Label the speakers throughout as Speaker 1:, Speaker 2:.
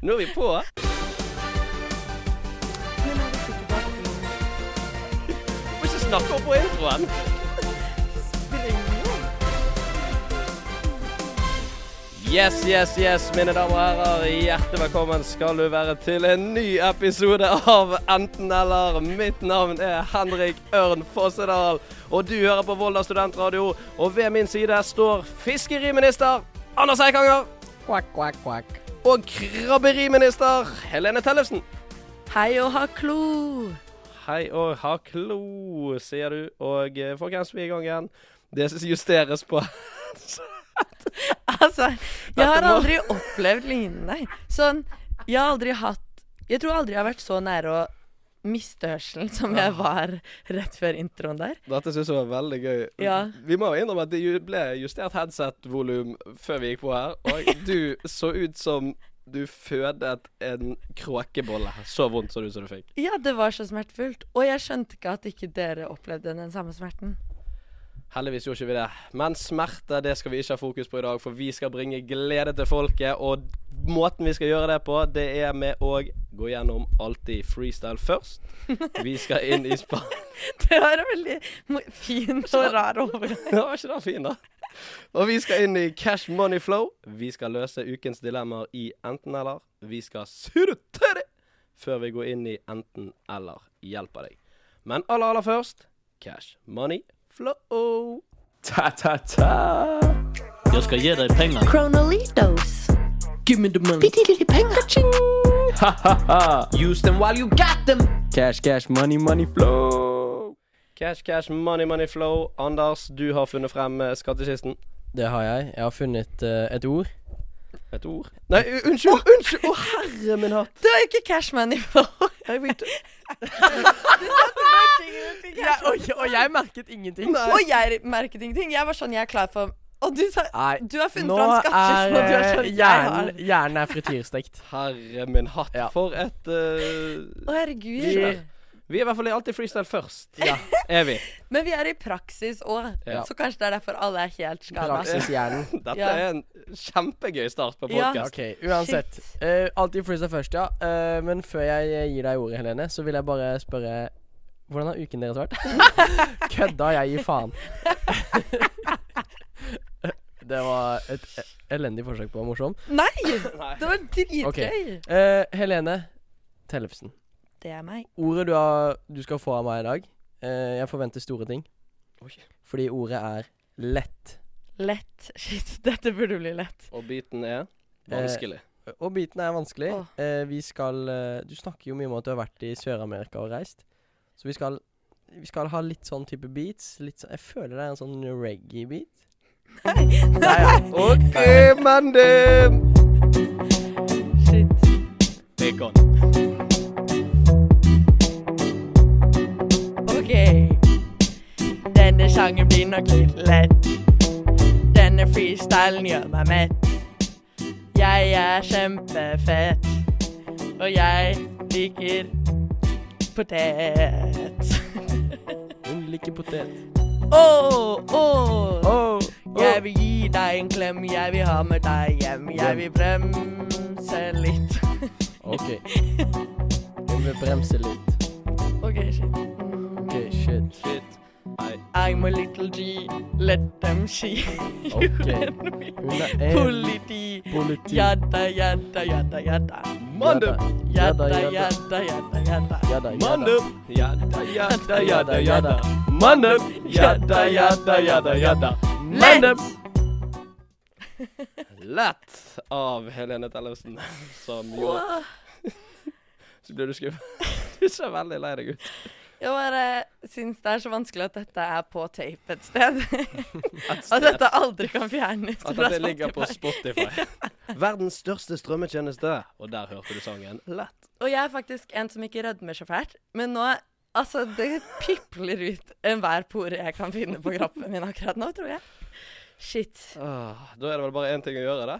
Speaker 1: Nå er vi på.
Speaker 2: Men er du sikker på at du
Speaker 1: Må ikke snakke opp på introen.
Speaker 2: spiller ingen?
Speaker 1: Yes, yes, yes, mine damer og herrer. Hjertelig velkommen skal du være til en ny episode av Enten eller. Mitt navn er Henrik Ørn Fossedal, og du hører på Volda studentradio. Og ved min side står fiskeriminister Anders Eikanger
Speaker 2: Kvakk, kvakk, kvakk.
Speaker 1: og krabberiminister Helene Tellefsen.
Speaker 2: Hei og ha klo!
Speaker 1: Hei og haklo, sier du. Og eh, folkens, vi er i gang igjen. Det justeres på.
Speaker 2: Altså, jeg har
Speaker 1: Dette må-
Speaker 2: aldri opplevd lignende. Sånn, jeg har aldri hatt Jeg tror aldri jeg har vært så nære å miste hørselen som
Speaker 1: Ah.
Speaker 2: jeg var rett før introen der.
Speaker 1: Dette syns jeg var veldig gøy.
Speaker 2: Ja.
Speaker 1: Vi må jo innrømme at det ju- ble justert headset-volum før vi gikk på her, og du så ut som du fødet en kråkebolle. Så vondt så det ut som du fikk.
Speaker 2: Ja, det var så smertefullt. Og jeg skjønte ikke at ikke dere opplevde den samme smerten.
Speaker 1: Heldigvis gjorde ikke vi det. Men smerte det skal vi ikke ha fokus på i dag, for vi skal bringe glede til folket. Og måten vi skal gjøre det på, det er med å gå gjennom alltid freestyle først. Vi skal inn i spa...
Speaker 2: Det var en veldig mo- fin og rar overgang.
Speaker 1: Ja, var ikke det fin, da? Og vi skal inn i Cash Money Flow. Vi skal løse ukens dilemmaer i enten-eller. Vi skal surte det før vi går inn i enten-eller hjelper deg. Men aller, aller først Cash Money Flow.
Speaker 3: Jeg skal gi deg penger.
Speaker 2: Chronolitos.
Speaker 3: Give me the money. Bitte lille penger. Use them while you got them. Cash, cash, money, money flow.
Speaker 1: Cash, cash, money, money flow. Anders, du har funnet frem eh, skattkisten.
Speaker 4: Det har jeg. Jeg har funnet eh, et ord.
Speaker 1: Et ord. Nei, u- unnskyld! Unnskyld! Å, herre min hatt.
Speaker 2: Det var ikke cash money på.
Speaker 1: Jeg vet
Speaker 4: og, jeg merket ingenting.
Speaker 1: Nei.
Speaker 2: Og jeg merket ingenting. Jeg var sånn, jeg er klar for Og du sa
Speaker 4: Nei.
Speaker 2: Du har funnet
Speaker 4: Ah, Nå
Speaker 2: fram skattkisten, og du er
Speaker 4: er
Speaker 2: sånn
Speaker 4: eh,
Speaker 2: Jeg har
Speaker 4: hjernen, hjernen er frityrstekt.
Speaker 1: Herre min hatt,
Speaker 4: Ja.
Speaker 1: for et eh,
Speaker 2: Å, herregud.
Speaker 1: Vi- Vi er i hvert fall i alltid freestyle først. Ja. Er vi.
Speaker 2: Men vi er i praksis òg,
Speaker 1: Ja.
Speaker 2: så kanskje det er derfor alle er helt skada.
Speaker 4: Praksishjernen.
Speaker 1: Dette
Speaker 2: Ja.
Speaker 1: er en kjempegøy start på
Speaker 2: Ja.
Speaker 1: podkast.
Speaker 4: OK, uansett.
Speaker 2: Shit.
Speaker 4: Uh, alltid freestyle først, ja. Eh, men før jeg eh, gir deg ordet, Helene, så vil jeg bare spørre Hvordan har uken deres vært? Kødda jeg gir faen. det var et e- elendig forsøk på å være morsom.
Speaker 2: Nei! Det var dritgøy.
Speaker 4: Eh, Helene Tellefsen.
Speaker 2: Det er meg.
Speaker 4: Ordet du, har, du skal få av meg i dag eh, Jeg forventer store ting. Fordi ordet er lett.
Speaker 2: Lett. Shit, dette burde bli lett.
Speaker 1: Og biten er vanskelig.
Speaker 4: Og biten er vanskelig.
Speaker 2: Åh.
Speaker 4: Eh, vi skal eh, Du snakker jo mye om at du har vært i Sør-Amerika og reist. Så vi skal, vi skal ha litt sånn type beats. Litt sånn, jeg føler det er en sånn reggae-beat. Nei, ja.
Speaker 1: OK, men det
Speaker 2: Shit.
Speaker 1: Bacon.
Speaker 2: Ok. Denne sangen blir nok litt lett. Denne freestylen gjør meg mett. Jeg er kjempefett, og jeg liker potet.
Speaker 4: Hun liker potet.
Speaker 2: Å, å,
Speaker 4: Oh,
Speaker 2: jeg vil gi deg en klem, jeg vil ha med deg hjem, jeg vil bremse litt.
Speaker 4: OK. Hun vil bremse litt.
Speaker 2: Ok, shit.
Speaker 4: OK, shit.
Speaker 1: Shit. Nei.
Speaker 2: I'm a little G, let them see you
Speaker 4: Ok.
Speaker 2: and me.
Speaker 4: Hun er
Speaker 1: Eh,
Speaker 4: en
Speaker 2: Politi.
Speaker 4: politi.
Speaker 2: Jadda, jadda, jadda, jadda.
Speaker 1: Mandum.
Speaker 2: Jadda, jadda, jadda, jadda.
Speaker 4: Jadda, jadda.
Speaker 1: Mandum. Jadda, jadda, jadda, jadda. Mandum. Jadda, jadda, jadda, jadda. Mandum. Lett av Helene Tellefsen, som gjorde
Speaker 2: Åh,
Speaker 1: Så ble du skuffet. Du ser veldig lei deg ut.
Speaker 2: Jeg bare syns det er så vanskelig at dette er på tape et sted. At dette aldri kan fjernes.
Speaker 1: At
Speaker 2: fra
Speaker 1: det ligger på
Speaker 2: Spotify.
Speaker 1: Spotify. Verdens største strømmetjeneste. Og der hørte du sangen. Lett.
Speaker 2: Og jeg er faktisk en som ikke rødmer så fælt, men nå Altså, det pipler ut enhver pore jeg kan finne på kroppen min akkurat nå, tror jeg. Shit.
Speaker 1: Ah, da er det vel bare én ting å gjøre, da.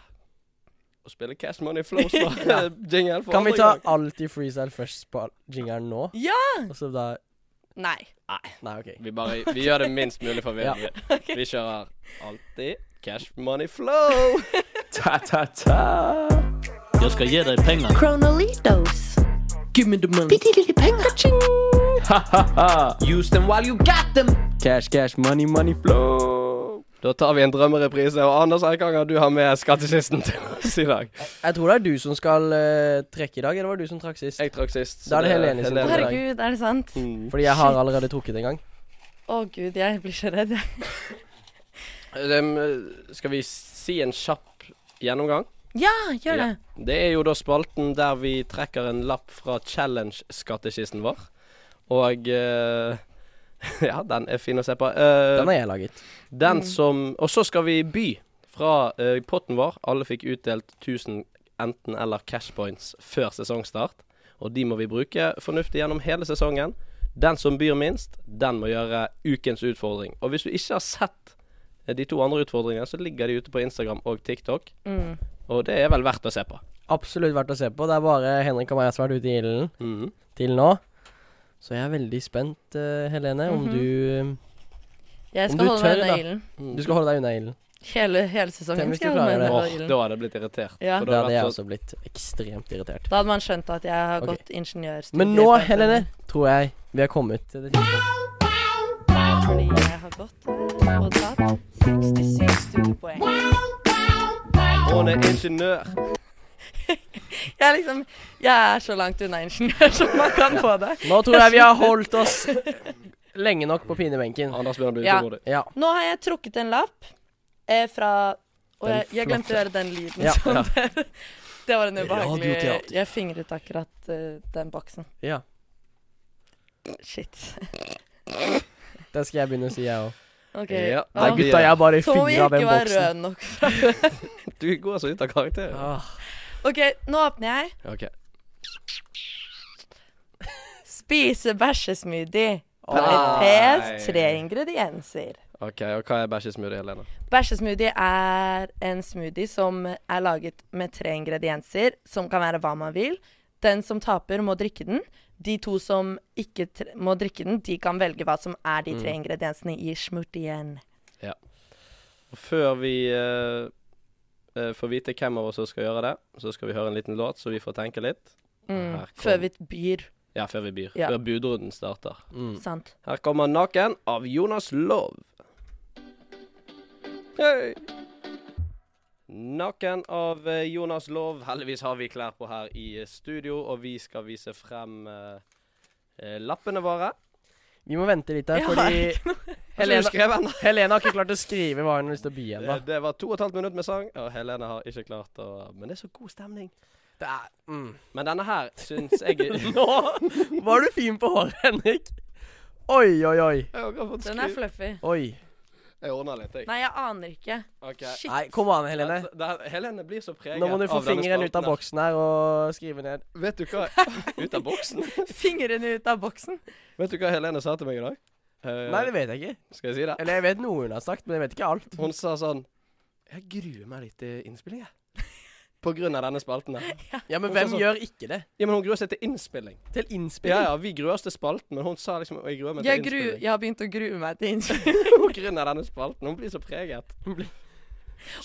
Speaker 1: Å spille Cash Money Flows på jingle. for
Speaker 4: Kan vi
Speaker 1: andre
Speaker 4: ta
Speaker 1: gang.
Speaker 4: alltid freestyle først på jingeren nå?
Speaker 2: Ja!
Speaker 4: Og så da
Speaker 2: Nei.
Speaker 4: Nei, OK.
Speaker 1: Vi, bare, vi gjør det minst mulig forvirrende. Vi kjører alltid Cash Money Flow.
Speaker 3: Ta, ta, ta.
Speaker 5: Jeg skal gi deg penger.
Speaker 6: Chronolitos.
Speaker 3: Give me the money.
Speaker 6: Bitte lille penger.
Speaker 3: Use them while you got them. Cash, cash, money, money flow.
Speaker 1: Da tar vi en drømmereprise. Og Anders Eikanger, du har med skattkisten til oss i dag.
Speaker 4: Jeg tror det er du som skal eh, trekke i dag, eller var det du som trakk sist?
Speaker 1: Jeg trakk sist. så
Speaker 4: Da er det Helene sin
Speaker 2: Å,
Speaker 4: tur.
Speaker 1: dag.
Speaker 2: herregud, er det sant? Å,
Speaker 1: Mm.
Speaker 4: Fordi jeg har allerede trukket en gang.
Speaker 2: gud, jeg blir så redd, jeg.
Speaker 1: Dem, eh, skal vi si en kjapp gjennomgang?
Speaker 2: Ja, gjør
Speaker 1: Ja.
Speaker 2: det.
Speaker 1: Det er jo da spalten der vi trekker en lapp fra challenge-skattkisten vår. Og eh, Ja, den er fin å se på. Eh,
Speaker 4: Den har jeg laget.
Speaker 1: Den som Og så skal vi by fra eh, potten vår. Alle fikk utdelt 1000 enten eller cash points før sesongstart. Og de må vi bruke fornuftig gjennom hele sesongen. Den som byr minst, den må gjøre ukens utfordring. Og hvis du ikke har sett eh, de to andre utfordringene, så ligger de ute på Instagram og TikTok.
Speaker 2: Mm.
Speaker 1: Og det er vel verdt å se på.
Speaker 4: Absolutt verdt å se på. Det er bare Henrik og meg som har vært ute i ilden
Speaker 1: Mhm.
Speaker 4: til nå. Så jeg er veldig spent, eh, Helene, om
Speaker 2: Mhm.
Speaker 4: du
Speaker 2: Jeg
Speaker 4: Om
Speaker 2: skal
Speaker 4: du
Speaker 2: holde meg
Speaker 4: tør,
Speaker 2: unna
Speaker 4: da.
Speaker 2: ilden.
Speaker 1: Mm.
Speaker 4: Du skal holde deg unna ilden.
Speaker 2: Hele, hele
Speaker 4: Tenk
Speaker 2: sesongen
Speaker 4: hvis
Speaker 2: skal
Speaker 4: du
Speaker 2: jeg holde meg
Speaker 4: klarer det.
Speaker 2: unna
Speaker 1: Åh,
Speaker 2: ilden.
Speaker 1: da hadde jeg blitt irritert.
Speaker 2: Ja.
Speaker 1: For
Speaker 4: Da
Speaker 1: da
Speaker 4: hadde jeg
Speaker 1: hadde vært sånn,
Speaker 4: også blitt ekstremt irritert.
Speaker 2: Da hadde man skjønt at jeg har
Speaker 4: Ok.
Speaker 2: gått ingeniørstudier.
Speaker 4: Men nå,
Speaker 2: på at-
Speaker 4: Helene, tror jeg vi har kommet til det.
Speaker 2: Fordi jeg har gått eh, og tatt 67 studiepoeng.
Speaker 1: så Hun er ingeniør.
Speaker 2: Jeg er liksom Jeg er så langt unna ingeniør som man kan få det.
Speaker 4: Nå tror jeg vi har holdt oss lenge nok på pinebenken.
Speaker 1: Anders begynner du
Speaker 2: Ja.
Speaker 1: utålmodig.
Speaker 4: Ja.
Speaker 2: Nå har jeg trukket en lapp eh, fra Og
Speaker 4: Den
Speaker 2: jeg, jeg glemte å gjøre den lyden
Speaker 4: Ja.
Speaker 2: som dere Det var en ubehagelig
Speaker 4: Radioteater.
Speaker 2: Jeg fingret akkurat eh, den boksen.
Speaker 4: ja.
Speaker 2: Shit.
Speaker 4: Det skal jeg begynne å si, jeg òg.
Speaker 2: OK.
Speaker 1: Ja.
Speaker 2: Åh,
Speaker 1: Nei,
Speaker 4: Gutta, jeg bare
Speaker 2: så må vi
Speaker 4: fyrer av
Speaker 2: ikke
Speaker 4: den
Speaker 2: være
Speaker 4: boksen.
Speaker 2: røde nok fra
Speaker 1: Du går så ut av karakter.
Speaker 4: Ah,
Speaker 2: OK, nå åpner jeg.
Speaker 1: Ok.
Speaker 2: Spise bæsjesmoothie.
Speaker 1: Nei.
Speaker 2: Parentes tre ingredienser.
Speaker 1: OK, og hva er bæsjesmoothie, Helene?
Speaker 2: Bæsjesmoothie er en smoothie som er laget med tre ingredienser, som kan være hva man vil. Den som taper, må drikke den. De to som ikke tr må drikke den, de kan velge hva som er de
Speaker 1: Mm.
Speaker 2: tre ingrediensene i smoothien.
Speaker 1: Og Før vi eh, eh, får vite hvem av oss som skal gjøre det, så skal vi høre en liten låt, så vi får tenke litt.
Speaker 2: Mm.
Speaker 1: Her kom-
Speaker 2: Før vi byr.
Speaker 1: Ja, før vi byr.
Speaker 2: Ja.
Speaker 1: Før budrunden starter.
Speaker 4: mm.
Speaker 2: Sant.
Speaker 1: Her kommer 'Naken' av Jonas Lov. Hei! 'Naken' av eh, Jonas Lov. Heldigvis har vi klær på her i eh, studio, og vi skal vise frem eh, eh, lappene våre.
Speaker 4: Vi må vente litt der,
Speaker 2: Jeg har
Speaker 4: fordi
Speaker 1: Helene
Speaker 4: Helene, Helene har ikke klart å skrive hva hun har lyst til å by ennå.
Speaker 1: Eh, Det, det var to og et halvt minutt med sang, og Helene har ikke klart å Men det er så god stemning.
Speaker 4: Det er- Mm.
Speaker 1: Men denne her syns jeg er
Speaker 4: Nå var du fin på håret, Henrik. Oi, oi, oi.
Speaker 1: Jeg har akkurat fått
Speaker 2: Den er
Speaker 1: skru-
Speaker 2: fluffy.
Speaker 4: Oi.
Speaker 1: Jeg ordner litt, jeg.
Speaker 2: Nei, jeg aner ikke.
Speaker 1: Ok.
Speaker 2: Shit.
Speaker 4: Nei, kom an, Helene.
Speaker 1: Det- det- Helene blir så preget
Speaker 4: Nå må du få
Speaker 1: av denne
Speaker 4: fingeren ut av
Speaker 1: spalten her.
Speaker 4: boksen her og skrive ned.
Speaker 1: Vet du hva Ut av boksen?
Speaker 2: Fingrene ut av boksen.
Speaker 1: Vet du hva Helene sa til meg i dag? Eh,
Speaker 4: Nei, det vet jeg ikke.
Speaker 1: Skal jeg si det?
Speaker 4: Eller jeg vet noe hun har sagt, men jeg vet ikke alt.
Speaker 1: Hun sa sånn Jeg gruer meg litt til innspilling, jeg. På grunn av denne spalten her.
Speaker 4: Ja, Men
Speaker 1: Hun sa
Speaker 4: hvem
Speaker 1: sånn-
Speaker 4: gjør ikke det?
Speaker 1: Ja, men hun gruer seg til innspilling.
Speaker 4: Til innspilling?
Speaker 1: Ja, ja, vi gruer oss til spalten, men hun sa liksom Jeg gruer meg til
Speaker 2: Jeg, gru,
Speaker 1: innspilling.
Speaker 2: jeg har begynt å grue meg til innspilling.
Speaker 1: På grunn av denne spalten. Hun blir så preget.
Speaker 2: Og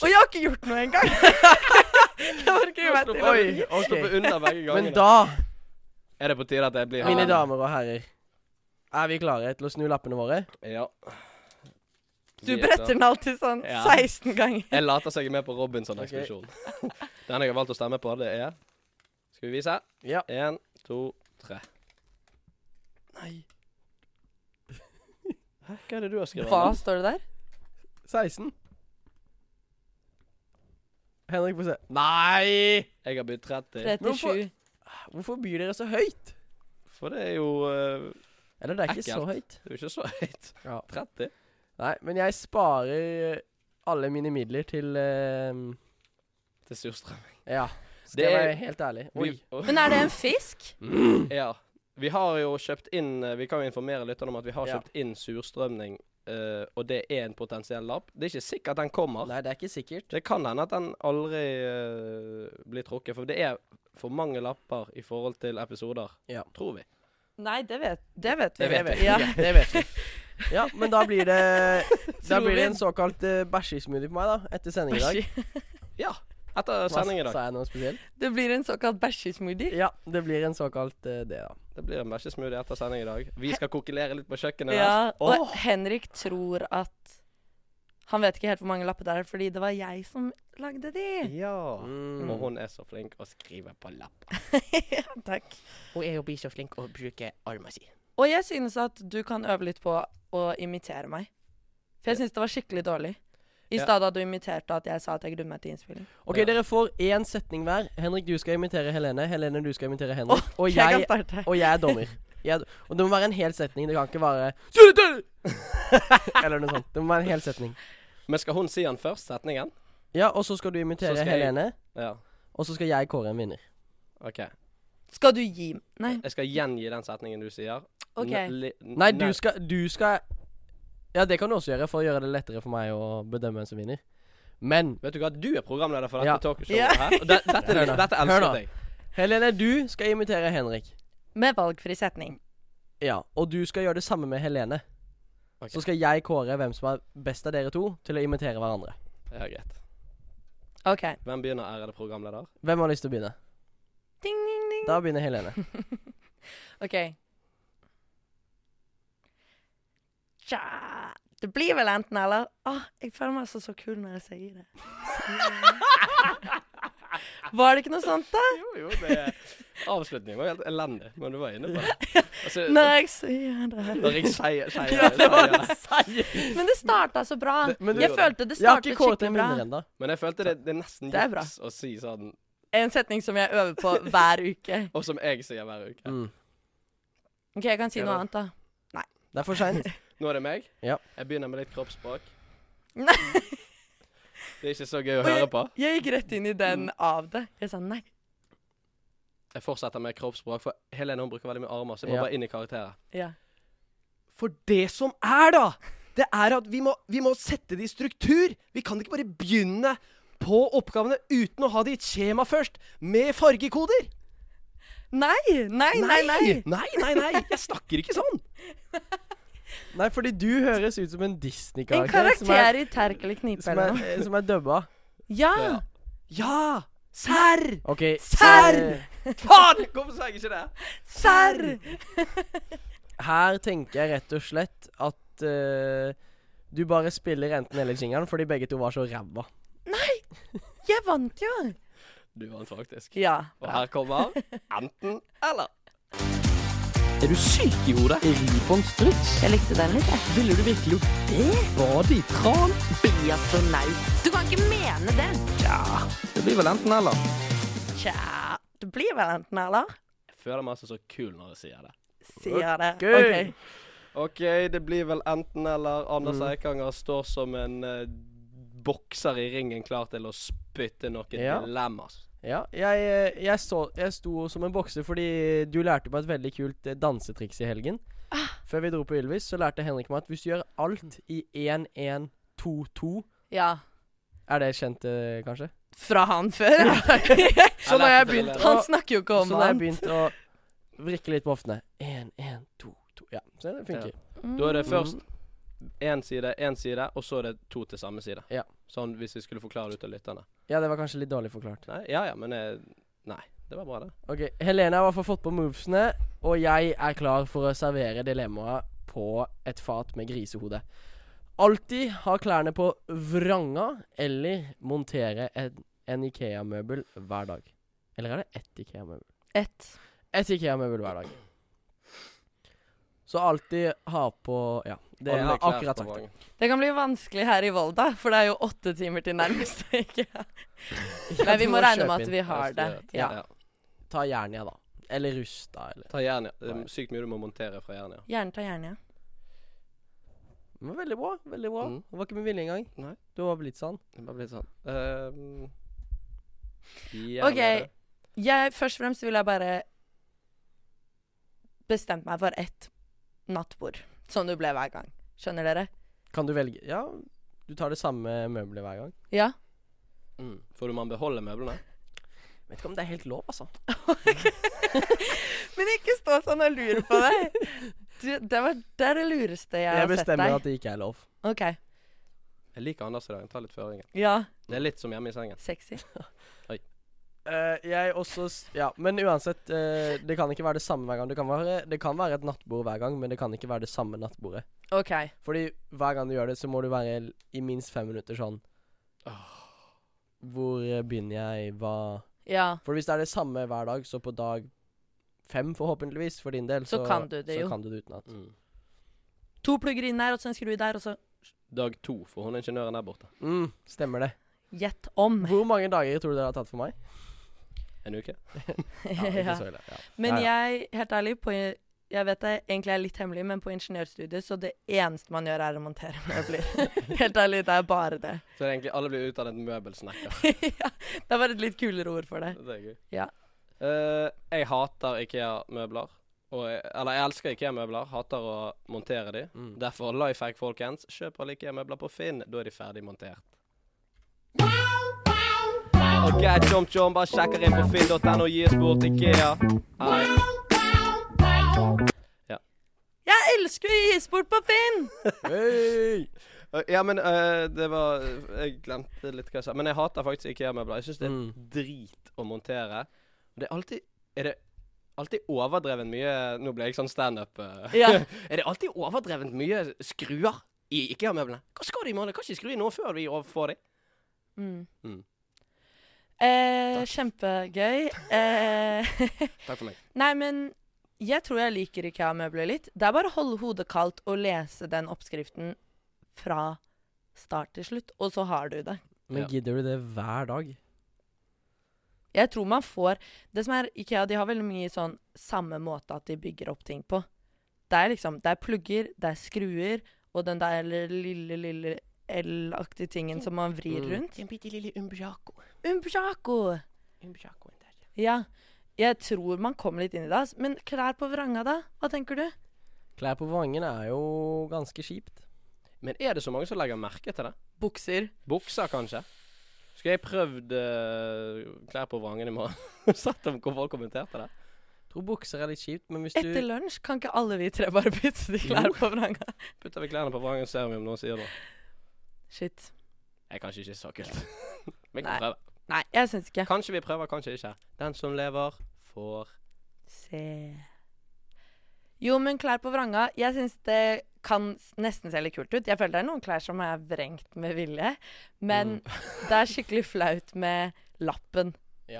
Speaker 2: jeg har ikke gjort noe engang! jeg bare gruer meg til
Speaker 4: Oi,
Speaker 1: Slipper
Speaker 4: ok.
Speaker 1: unna begge gangene.
Speaker 4: Men da,
Speaker 1: Er det på tide at jeg blir
Speaker 4: mine damer og herrer, er vi klare til å snu lappene våre?
Speaker 1: Ja.
Speaker 2: Du bretter den alltid sånn
Speaker 1: Ja.
Speaker 2: 16 ganger.
Speaker 1: Jeg later som jeg er med på Robinson-ekspedisjonen. Den jeg har valgt å stemme på, det er Skal vi vise?
Speaker 4: Ja.
Speaker 1: Én, to, tre.
Speaker 4: Nei.
Speaker 1: Hæ, hva er det du har skrevet?
Speaker 2: Hva står det der?
Speaker 4: 16. Henrik, få se. Nei!
Speaker 1: Jeg har bydd 30.
Speaker 2: 37.
Speaker 4: Hvorfor byr dere så høyt?
Speaker 1: For det er jo eh,
Speaker 4: Eller det er ikke
Speaker 1: Ekkelt.
Speaker 4: så høyt.
Speaker 1: Det er jo ikke så høyt.
Speaker 4: Ja.
Speaker 1: 30?
Speaker 4: Nei, men jeg sparer eh, alle mine midler til eh,
Speaker 1: Til surstrømming.
Speaker 4: Ja. Skal
Speaker 1: Det
Speaker 4: jeg
Speaker 1: er-
Speaker 4: være helt ærlig. Oi.
Speaker 1: Vi- Å,
Speaker 2: Men er det en fisk?
Speaker 1: Mm. Ja. Vi har jo kjøpt inn eh, Vi kan jo informere lytterne om at vi har
Speaker 4: Ja.
Speaker 1: kjøpt inn surstrømming, eh, og det er en potensiell lapp. Det er ikke sikkert den kommer.
Speaker 4: Nei, det er ikke sikkert.
Speaker 1: Det kan hende at den aldri eh, blir trukket, for det er for mange lapper i forhold til episoder,
Speaker 4: Ja.
Speaker 1: tror vi.
Speaker 2: Nei, det vet, det vet vi.
Speaker 1: Det vet vi.
Speaker 2: Ja.
Speaker 4: Det vet vi. Ja, men da blir det eh,
Speaker 2: Tror
Speaker 4: Da
Speaker 2: vi.
Speaker 4: blir det en såkalt uh, bæsjesmoothie på meg, da, etter sending i dag.
Speaker 1: Ja, etter sending i dag.
Speaker 4: Sa jeg noe spesielt?
Speaker 2: Det blir en såkalt bæsjesmoothie.
Speaker 4: Ja, det blir en såkalt eh, det, da.
Speaker 1: Det blir en bæsjesmoothie etter sending i dag. Vi skal kokkelere litt på kjøkkenet.
Speaker 2: Ja,
Speaker 1: deres.
Speaker 2: og
Speaker 1: Åh!
Speaker 2: Henrik tror at Han vet ikke helt hvor mange lapper det er, fordi det var jeg som lagde de.
Speaker 1: ja.
Speaker 4: Mm.
Speaker 1: Og hun er så flink å skrive på lapp.
Speaker 2: Takk.
Speaker 5: Hun er jo blir så flink å bruke armen sin.
Speaker 2: Og jeg synes at du kan øve litt på å imitere meg. For jeg synes det var skikkelig dårlig. I
Speaker 1: Ja.
Speaker 2: stad da du imiterte at jeg sa at jeg grudde meg til innspilling.
Speaker 4: Ok,
Speaker 1: Ja.
Speaker 4: dere får én setning hver. Henrik, du skal imitere Helene. Helene, du skal imitere Henrik. og,
Speaker 2: Jeg kan
Speaker 4: jeg,
Speaker 2: starte.
Speaker 4: og jeg er dommer. Jeg, er- og det må være en hel setning. Det kan ikke være Eller noe sånt. Det må være en hel setning.
Speaker 1: Men skal hun si den først, setningen?
Speaker 4: Ja, og så skal du imitere
Speaker 1: Så skal jeg-
Speaker 4: Helene,
Speaker 1: Ja.
Speaker 4: og så skal jeg kåre en vinner.
Speaker 1: OK.
Speaker 2: Skal du gi Nei,
Speaker 1: Jeg skal gjengi den setningen du sier.
Speaker 2: OK.
Speaker 1: N- li- n-
Speaker 4: Nei, du skal, du skal Ja, det kan du også gjøre, for å gjøre det lettere for meg å bedømme hvem som vinner. Men
Speaker 1: Vet du hva, du er programleder for dette
Speaker 4: Ja.
Speaker 1: talkshowet
Speaker 2: Ja.
Speaker 1: her. Og det, dette,
Speaker 4: Hør nå.
Speaker 1: dette
Speaker 4: Hør nå.
Speaker 1: elsket jeg.
Speaker 4: Helene, du skal imitere Henrik.
Speaker 2: Med valgfri setning.
Speaker 4: Ja, og du skal gjøre det samme med Helene.
Speaker 1: Ok.
Speaker 4: Så skal jeg kåre hvem som er best av dere to til å imitere hverandre.
Speaker 1: Ja, greit.
Speaker 2: OK.
Speaker 1: Hvem begynner, ærede programleder?
Speaker 4: Hvem har lyst til å begynne?
Speaker 2: Ding, ding, ding.
Speaker 4: Da begynner Helene.
Speaker 2: OK. Tja. Det blir vel enten eller. Åh, jeg føler meg altså så kul når jeg sier det. Var det ikke noe sånt, da?
Speaker 1: Jo, jo, det Avslutningen var helt elendig, men du var inne på det. Altså,
Speaker 2: Når jeg sier det.
Speaker 1: Når jeg sier, sier,
Speaker 4: Ja, det var
Speaker 1: sier
Speaker 4: det seige.
Speaker 2: Men det starta så bra.
Speaker 4: Det- men du
Speaker 2: Jeg
Speaker 1: gjorde det.
Speaker 2: følte det
Speaker 4: Jeg har
Speaker 2: startet
Speaker 4: ikke kåret
Speaker 2: skikkelig
Speaker 4: en
Speaker 2: bra.
Speaker 4: vinner ennå.
Speaker 1: Men jeg følte det, det er nesten
Speaker 2: Det er bra.
Speaker 1: juks å si sånn,
Speaker 2: En setning som jeg øver på hver uke.
Speaker 1: og som jeg sier hver uke.
Speaker 4: Mm.
Speaker 2: OK, jeg kan si
Speaker 1: Ja,
Speaker 2: noe
Speaker 1: da.
Speaker 2: annet, da.
Speaker 4: Det er for seint.
Speaker 1: Nå er det meg.
Speaker 4: Ja.
Speaker 1: Jeg begynner med litt kroppsspråk.
Speaker 2: Nei.
Speaker 1: Det er ikke så gøy å
Speaker 2: Og
Speaker 1: høre på.
Speaker 2: Jeg gikk rett inn i den av det. Jeg sa nei.
Speaker 1: Jeg fortsetter med kroppsspråk, for Helene hun bruker veldig mye armer, så jeg må
Speaker 4: Ja.
Speaker 1: bare inn i karakterer.
Speaker 2: Ja.
Speaker 5: For det som er, da, det er at vi må, vi må sette det i struktur. Vi kan ikke bare begynne på oppgavene uten å ha det i et skjema først, med fargekoder.
Speaker 2: Nei, nei, nei, nei.
Speaker 5: Nei, nei, nei. Jeg snakker ikke sånn.
Speaker 4: Nei, fordi du høres ut som en
Speaker 2: En
Speaker 4: Disney-karakter. som er-
Speaker 2: karakter i Terk eller knipe
Speaker 4: Som
Speaker 2: eller
Speaker 4: er,
Speaker 2: noe.
Speaker 4: eh, som er dubba.
Speaker 2: Ja!
Speaker 5: Ja. Serr.
Speaker 4: OK.
Speaker 2: Serr!
Speaker 4: eh,
Speaker 1: Faen! Hvorfor sa jeg ikke det?
Speaker 2: Serr!
Speaker 4: Her tenker jeg rett og slett at eh, du bare spiller enten eller jingeren fordi begge to var så ræva.
Speaker 2: Jeg vant jo!
Speaker 1: Du vant faktisk.
Speaker 2: Ja.
Speaker 1: Og her kommer enten eller.
Speaker 3: Er du syk i hodet? Ribon struts?
Speaker 2: Jeg likte den litt, jeg.
Speaker 3: Ville du virkelig gjort det? Bade i tran?
Speaker 6: Bli astronaut. Du kan ikke mene det.
Speaker 3: Det blir vel enten eller.
Speaker 2: Tja. Det blir vel enten eller,
Speaker 1: Jeg føler meg altså så kul når jeg sier det.
Speaker 2: sier det.
Speaker 4: Gøy.
Speaker 2: Ok.
Speaker 1: OK, det blir vel enten eller. Anders
Speaker 4: Mm.
Speaker 1: Eikanger står som en eh, bokser i ringen klar til å spytte noen
Speaker 4: Ja.
Speaker 1: dilemmas.
Speaker 4: Ja, jeg, eh, jeg, så, jeg sto som en bokser fordi du lærte meg et veldig kult eh, dansetriks i helgen.
Speaker 2: Ah.
Speaker 4: Før vi dro på Ylvis, så lærte Henrik meg at hvis du gjør alt i 1-1-2-2
Speaker 2: Ja.
Speaker 4: Er det kjent, eh, kanskje?
Speaker 2: Fra han før? ja.
Speaker 4: Så når jeg
Speaker 1: lærte det
Speaker 4: begynte å
Speaker 2: Han snakker jo ikke
Speaker 4: Så
Speaker 2: om
Speaker 4: når jeg
Speaker 2: han.
Speaker 4: begynte å vrikke litt på hoftene 1-1-2-2 Ja, så det Mhm. funker.
Speaker 2: Mm,
Speaker 1: Da
Speaker 3: Mm.
Speaker 1: er det først én side, én side, og så er det to til samme side.
Speaker 4: Ja.
Speaker 1: Sånn hvis vi skulle forklare det ut til lytterne.
Speaker 4: Ja, det var kanskje litt dårlig forklart.
Speaker 1: Nei, ja ja, men eh, Nei, det var bra, det.
Speaker 4: Ok, Helene har i hvert fall fått på movesene, og jeg er klar for å servere dilemmaet på et fat med grisehode. Alltid ha klærne på vranga eller montere en, en Ikea-møbel hver dag. Eller er det ett Ikea-møbel?
Speaker 2: Ett.
Speaker 4: Ett Ikea-møbel hver dag. Så alltid ha på Ja, det er
Speaker 1: Alle klær
Speaker 4: akkurat
Speaker 1: på
Speaker 4: sagt.
Speaker 1: vogn.
Speaker 2: Det kan bli vanskelig her i Volda, for det er jo åtte timer til nærmeste. Ikke?
Speaker 4: Ja,
Speaker 2: Nei,
Speaker 4: du
Speaker 2: vi
Speaker 4: må
Speaker 2: må regne
Speaker 4: kjøpe
Speaker 2: med at
Speaker 4: inn.
Speaker 2: vi har det. Ja.
Speaker 1: Ja.
Speaker 4: Ta Jernia, da. Eller Rusta, eller
Speaker 1: Ta Jernia. Det er sykt mye du må montere fra Jernia.
Speaker 2: Gjerne ta gjerne, ja.
Speaker 4: Det var veldig bra. veldig bra
Speaker 1: Mm.
Speaker 4: Det var ikke med vilje engang.
Speaker 1: Nei.
Speaker 4: Du var blitt sånn.
Speaker 1: Det bare blir sånn. Ehm, Jernia,
Speaker 2: OK.
Speaker 1: det.
Speaker 2: Jeg, først og fremst vil jeg bare Bestemt meg for ett nattbord, som det ble hver gang. Skjønner dere?
Speaker 4: Kan du velge Ja, du tar det samme møbelet hver gang.
Speaker 2: Ja.
Speaker 1: Mm. Får du man beholde møblene?
Speaker 4: Vet ikke om det er helt lov, altså.
Speaker 2: Men ikke stå sånn og lure på deg. Du, det, var, det er det lureste jeg,
Speaker 4: Jeg
Speaker 2: har sett
Speaker 4: bestemmer
Speaker 2: deg.
Speaker 4: at det ikke er lov.
Speaker 2: OK.
Speaker 1: Jeg liker Anders i dag. Han tar litt føringer.
Speaker 2: Ja.
Speaker 1: Det er litt som hjemme i sengen.
Speaker 2: Sexy.
Speaker 4: Eh, jeg også s- Ja, men uansett. eh, det kan ikke være det samme hver gang. Det kan, være, det kan være et nattbord hver gang, men det kan ikke være det samme nattbordet.
Speaker 2: OK.
Speaker 4: Fordi hver gang du gjør det, så må du være l- i minst fem minutter sånn Hvor eh, begynner jeg? Hva
Speaker 2: Ja.
Speaker 4: For hvis det er det samme hver dag, så på dag fem, forhåpentligvis, for din del,
Speaker 2: Så kan du det
Speaker 4: så
Speaker 2: jo.
Speaker 4: kan du det utenat.
Speaker 1: Mm.
Speaker 2: To plugger inn der, og så en skru der, og så
Speaker 1: Dag to, for hun er ingeniøren der borte.
Speaker 4: Mm, stemmer det.
Speaker 2: gjett om.
Speaker 4: Hvor mange dager tror du det har tatt for meg?
Speaker 1: En uke?
Speaker 4: Ja, ikke
Speaker 2: Ja.
Speaker 4: så ille. Ja.
Speaker 2: Men
Speaker 4: Ja,
Speaker 2: jeg, helt ærlig, på, jeg vet det egentlig er litt hemmelig, men på ingeniørstudiet så det eneste man gjør, er å montere møbler. helt ærlig, det er bare det.
Speaker 1: Så er det egentlig alle blir utdannet møbelsnekker.
Speaker 2: ja, det er bare et litt kulere ord for det.
Speaker 1: Det er gøy.
Speaker 2: Ja.
Speaker 1: Eh, jeg hater IKEA-møbler. Og jeg, eller jeg elsker IKEA-møbler, hater å montere de.
Speaker 4: Mm.
Speaker 1: Derfor life hack, folkens. Kjøp alle IKEA-møbler på Finn, da er de ferdig montert. OK, tjom tjom, bare sjekker inn på finn.no, gi oss bort IKEA. Hei.
Speaker 2: Jeg elsker å gi sport på Finn!
Speaker 4: Hey!
Speaker 1: Eh, Ja, men eh, det var Jeg glemte litt hva jeg sa. Men jeg hater faktisk IKEA-møbler. Jeg syns det er
Speaker 4: Mm.
Speaker 1: drit å montere. Og det er alltid Er det alltid overdreven mye Nå ble jeg sånn standup. eh.
Speaker 2: Ja.
Speaker 1: er det alltid overdrevent mye skruer i IKEA-møblene? Hva skal de med det? Kan ikke skru i noe før vi får de?
Speaker 2: Mm.
Speaker 1: Mm.
Speaker 2: Eh, kjempegøy. Eh,
Speaker 1: Takk for meg.
Speaker 2: nei, men jeg tror jeg liker IKEA-møbler litt. Det er bare å holde hodet kaldt og lese den oppskriften fra start til slutt, og så har du det.
Speaker 4: Men
Speaker 1: Ja.
Speaker 4: gidder du det hver dag?
Speaker 2: Jeg tror man får Det som er Ikea, de har veldig mye sånn samme måte at de bygger opp ting på. Det er liksom Det er plugger, det er skruer, og den der lille, lille L-aktige tingen som man vrir
Speaker 4: Mm.
Speaker 2: rundt.
Speaker 5: En bitte lille umbiaco.
Speaker 2: Umbrako!
Speaker 5: Umbiacoen der.
Speaker 2: Ja. Jeg tror man kommer litt inn i det. ass. Men klær på vranga, da? Hva tenker du?
Speaker 4: Klær på vangen er jo ganske kjipt.
Speaker 1: Men er det så mange som legger merke til det?
Speaker 2: Bukser.
Speaker 1: Bukser, kanskje? Skulle jeg prøvd eh, klær på vrangen i morgen? Sett om hvor folk kommenterte det.
Speaker 4: Tror bukser er litt kjipt, men hvis
Speaker 2: Etter
Speaker 4: du
Speaker 2: lunsj kan ikke alle vi tre bare bytte de klær på vranga?
Speaker 1: Putter vi klærne på vrangen, ser vi om noen sier noe.
Speaker 2: Shit.
Speaker 1: Det er kanskje ikke så kult. Vi kan
Speaker 2: Nei.
Speaker 1: prøve.
Speaker 2: Nei, jeg syns ikke.
Speaker 1: Kanskje vi prøver, kanskje ikke. Den som lever, får
Speaker 2: Se Jo, men klær på vranga Jeg syns det kan s- nesten se litt kult ut. Jeg føler det er noen klær som er vrengt med vilje. Men
Speaker 4: Mm.
Speaker 2: det er skikkelig flaut med lappen.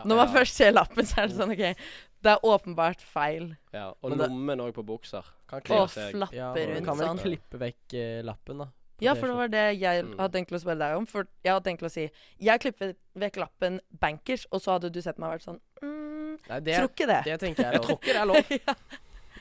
Speaker 2: Når man først ser lappen, så er det sånn OK, det er åpenbart feil.
Speaker 1: Ja, og
Speaker 4: Men Mm. det-
Speaker 1: lommen òg på bukser.
Speaker 4: kan
Speaker 1: Kler
Speaker 2: Å,
Speaker 4: klippe,
Speaker 1: seg.
Speaker 2: flapper
Speaker 4: ja,
Speaker 1: men
Speaker 2: rundt
Speaker 4: kan vel
Speaker 2: sånn.
Speaker 4: klippe sånn. vekk eh, lappen, da. på
Speaker 2: Ja, for det
Speaker 4: T-skjorten.
Speaker 2: var det jeg
Speaker 1: Mm.
Speaker 2: hadde tenkt å spørre deg om. For jeg hadde tenkt å si Jeg klippet vekk lappen bankers, og så hadde du sett meg og vært sånn mm,
Speaker 4: Nei, det,
Speaker 2: Tror ikke det.
Speaker 4: det tenker jeg er lov.
Speaker 1: ikke det er lov.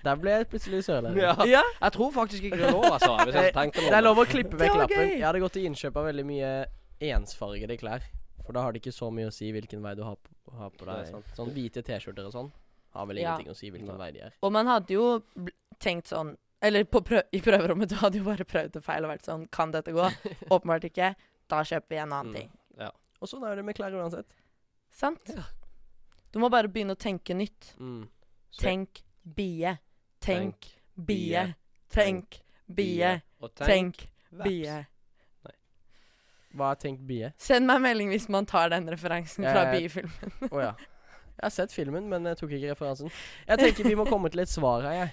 Speaker 4: Der ble jeg plutselig sørlending.
Speaker 1: Ja.
Speaker 2: Ja,
Speaker 1: Jeg tror faktisk ikke det er lov, altså. Hvis jeg tenkte meg om
Speaker 4: Det er lov å klippe
Speaker 2: Det
Speaker 4: vekk
Speaker 2: var
Speaker 4: lappen.
Speaker 2: gøy.
Speaker 4: Jeg hadde gått til innkjøp av veldig mye ensfargede klær. For da har det ikke så mye å si hvilken vei du har på, har på
Speaker 1: Det er
Speaker 4: deg.
Speaker 1: sant.
Speaker 4: Sånn hvite T-skjorter og sånn har vel
Speaker 2: Ja.
Speaker 4: ingenting å si hvilken vei de er.
Speaker 2: Og man hadde jo bl- tenkt sånn Eller på prø i prøverommet, du hadde jo bare prøvd det feil og vært sånn Kan dette gå? Åpenbart ikke. Da kjøper vi en annen
Speaker 4: Mm.
Speaker 2: ting.
Speaker 4: Og sånn er det med klær uansett.
Speaker 2: Sant? Du må bare begynne å tenke nytt.
Speaker 4: Mm.
Speaker 1: Så-
Speaker 2: Tenk bie. Tenk bie.
Speaker 1: bie.
Speaker 2: Tenk bie.
Speaker 1: Og
Speaker 2: Tenk
Speaker 1: veps.
Speaker 2: bie.
Speaker 4: Hva er tenkt bie?
Speaker 2: Send meg en melding hvis man tar den referansen fra
Speaker 4: Jeg-
Speaker 2: biefilm.
Speaker 4: Å ja. Jeg har sett filmen, men jeg tok ikke referansen. Jeg tenker vi må komme til et svar her, jeg.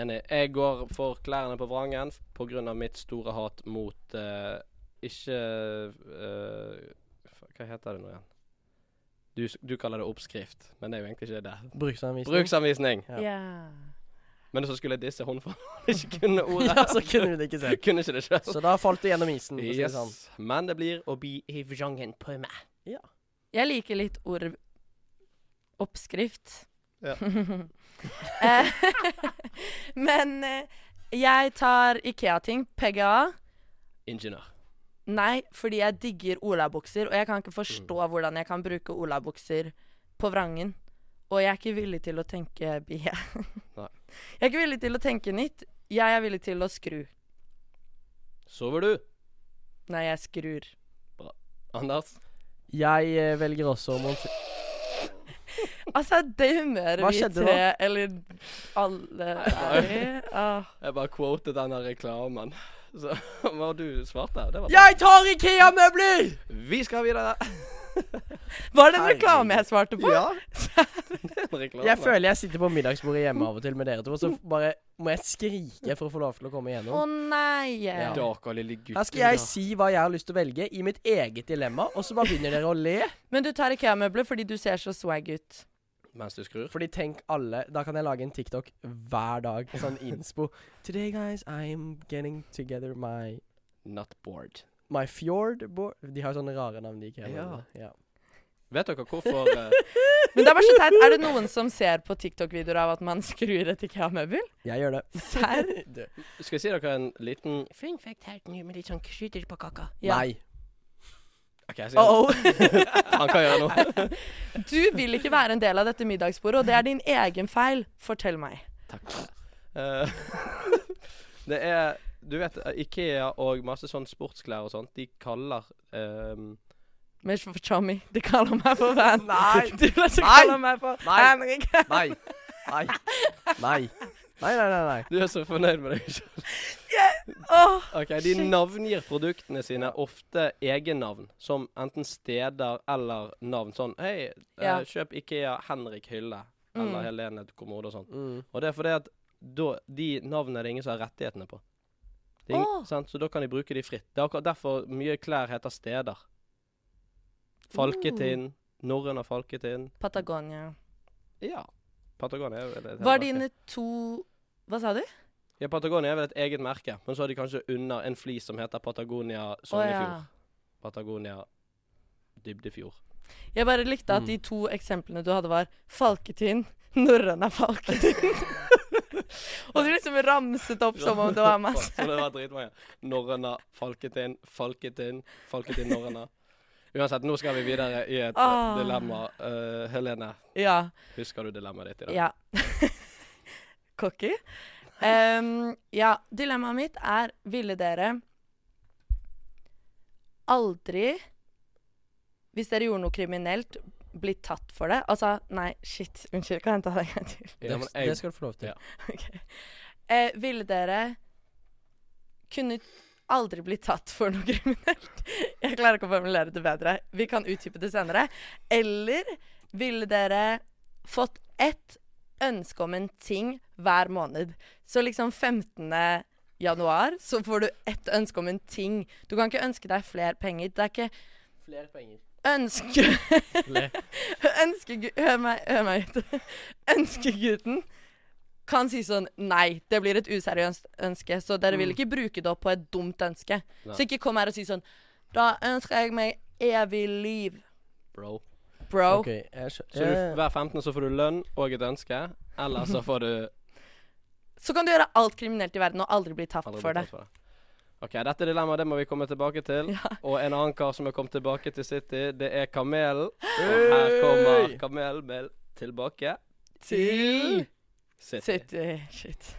Speaker 1: Enig. Jeg går for klærne på vrangen pga. mitt store hat mot eh, ikke eh, f- Hva heter det nå igjen? Du, s- du kaller det oppskrift, men det er jo egentlig ikke det.
Speaker 4: Bruksanvisning.
Speaker 1: Bruksanvisning.
Speaker 4: Ja.
Speaker 1: Men så skulle jeg disse hun for ikke kunne ordet.
Speaker 4: Ja, så kunne du det ikke selv.
Speaker 1: Kunne ikke det sjøl.
Speaker 4: Så da falt du gjennom isen. for å si det
Speaker 1: Yes.
Speaker 4: sånn.
Speaker 1: Men det blir å bli i vrangen på meg.
Speaker 2: Jeg liker litt ordet oppskrift.
Speaker 1: Ja.
Speaker 2: Eh, Men eh, jeg tar Ikea-ting, PGA.
Speaker 1: Ingeniør.
Speaker 2: Nei, fordi jeg digger olabukser, og jeg kan ikke forstå
Speaker 1: Mm.
Speaker 2: hvordan jeg kan bruke olabukser på vrangen. Og jeg er ikke villig til å tenke bie.
Speaker 1: Nei.
Speaker 2: Jeg er ikke villig til å tenke nytt. Jeg er villig til å skru.
Speaker 1: Sover du,
Speaker 2: Nei, jeg skrur.
Speaker 1: Anders?
Speaker 4: Jeg eh, velger også å montere
Speaker 2: Altså, det humøret
Speaker 4: Hva
Speaker 2: vi
Speaker 4: skjedde
Speaker 2: tre, eller alle er i ah.
Speaker 1: Jeg bare quotet den der reklamen. Så hva du svarte, det var bra.
Speaker 4: Jeg tar Ikea-møbler!
Speaker 1: Vi skal videre.
Speaker 2: Var det en reklame jeg svarte på?
Speaker 5: Ja.
Speaker 1: Reklame.
Speaker 4: Jeg føler jeg sitter på middagsbordet hjemme av og til med dere to, og så bare må jeg skrike for å få lov til å komme
Speaker 2: Å
Speaker 4: igjennom.
Speaker 2: nei!
Speaker 4: Ja.
Speaker 1: Dere lille gutten.
Speaker 4: Her skal jeg
Speaker 1: da.
Speaker 4: si hva jeg har lyst til å velge i mitt eget dilemma, og så bare begynner dere å le.
Speaker 2: Men du tar Ikea-møbler fordi du ser så swag ut.
Speaker 1: Mens du skrur.
Speaker 4: Fordi tenk alle Da kan jeg lage en TikTok hver dag. Sånn innspo. Today, guys, I'm getting together my
Speaker 1: Not bored.
Speaker 4: My fjord board De har jo sånne rare navn, de ikke
Speaker 1: Ja.
Speaker 4: ja.
Speaker 1: Vet dere hvorfor eh,
Speaker 2: Men det er bare så teit. Er det noen som ser på TikTok-videoer av at man skrur et Ikea-møbel?
Speaker 4: Jeg gjør det.
Speaker 2: Serr?
Speaker 4: Du.
Speaker 1: Skal jeg si dere en liten
Speaker 6: Fun fact helt ny med litt sånn krydder på kaka.
Speaker 2: Ja.
Speaker 4: Nei.
Speaker 1: OK, jeg sier det.
Speaker 4: Oh,
Speaker 1: Han kan gjøre noe.
Speaker 2: Du vil ikke være en del av dette middagsbordet, og det er din egen feil. Fortell meg.
Speaker 1: Takk. Eh, det er Du vet, eh, Ikea og masse sånn sportsklær og sånt, de kaller ehm,
Speaker 2: Men for- Tommy, de kaller meg for Van.
Speaker 4: Nei.
Speaker 2: Du vet, de
Speaker 4: Nei.
Speaker 2: kaller meg for
Speaker 4: Nei.
Speaker 2: Henrik.
Speaker 4: nei. Nei. Nei. Nei, nei, nei. nei.
Speaker 1: Du er så fornøyd med deg selv.
Speaker 2: Åh,
Speaker 1: Ok, De navngir produktene sine ofte egennavn, som enten steder eller navn. Sånn Hei, eh,
Speaker 2: Ja.
Speaker 1: kjøp Ikea Henrik Hylle eller
Speaker 2: Mm.
Speaker 1: Helene Kommode og sånt.
Speaker 4: Mm.
Speaker 1: Og det er fordi at da, de navnene er det ingen som har rettighetene på. Det er ingen,
Speaker 2: Åh.
Speaker 1: sant? Så da kan de bruke de fritt. Det er akkurat derfor mye klær heter steder. Falketind. Norrøn av Falketind.
Speaker 2: Patagonia.
Speaker 1: Ja. Patagonia er vel et
Speaker 2: Var
Speaker 1: merke.
Speaker 2: dine to Hva sa du?
Speaker 1: Ja, Patagonia er vel et eget merke, men så har de kanskje under en flis som heter Patagonia
Speaker 2: Å
Speaker 1: Sognefjord.
Speaker 2: ja.
Speaker 1: Patagonia Dybdefjord.
Speaker 2: Jeg bare likte at
Speaker 4: Mm.
Speaker 2: de to eksemplene du hadde, var Falketinn, norrøna Falketinn. og du liksom ramset opp som om det var masse.
Speaker 1: Så det var dritmange. Norrøna, Falketind, Falketind, Falketind Norrøna. Uansett, nå skal vi videre i et eh,
Speaker 2: Ah.
Speaker 1: dilemma. Eh, Helene,
Speaker 2: Ja.
Speaker 1: Husker du dilemmaet ditt i dag?
Speaker 2: Ja. Cocky. Em, ja, dilemmaet mitt er Ville dere aldri, hvis dere gjorde noe kriminelt, blitt tatt for det? Altså, nei, shit. Unnskyld, kan jeg ta det en gang til?
Speaker 1: Ja, men
Speaker 4: Det,
Speaker 1: jeg,
Speaker 4: det skal du få lov til.
Speaker 1: Ja.
Speaker 2: Ok. Eh, ville dere kunne aldri bli tatt for noe kriminelt? Jeg klarer ikke å formulere det bedre. Vi kan utdype det senere. Eller ville dere fått ett ønske om en ting hver måned? Så liksom 15. januar så får du ett ønske om en ting. Du kan ikke ønske deg flere penger. Det er ikke
Speaker 4: Flere penger.
Speaker 2: Ønske
Speaker 4: Le.
Speaker 2: Ønske gu- Hør meg, hør meg ut. Ønskegutten kan si sånn Nei, det blir et useriøst ønske, så dere vil ikke bruke det opp på et dumt ønske.
Speaker 1: Nei.
Speaker 2: Så ikke kom her og si sånn Da ønsker jeg meg evig liv,
Speaker 1: bro.
Speaker 2: bro.
Speaker 4: OK. Jeg skjø-
Speaker 1: Så du,
Speaker 4: Eh,
Speaker 1: hver 15. så får du lønn og et ønske, eller så får du
Speaker 2: Så kan du gjøre alt kriminelt i verden og aldri bli tapt
Speaker 1: aldri
Speaker 2: for det.
Speaker 1: betalt for det. OK, dette dilemmaet det må vi komme tilbake til.
Speaker 2: Ja.
Speaker 1: Og en annen kar som har kommet tilbake til City, det er Kamelen. Og her kommer Kamelen med tilbake
Speaker 2: Til
Speaker 1: City.
Speaker 2: City. Shit.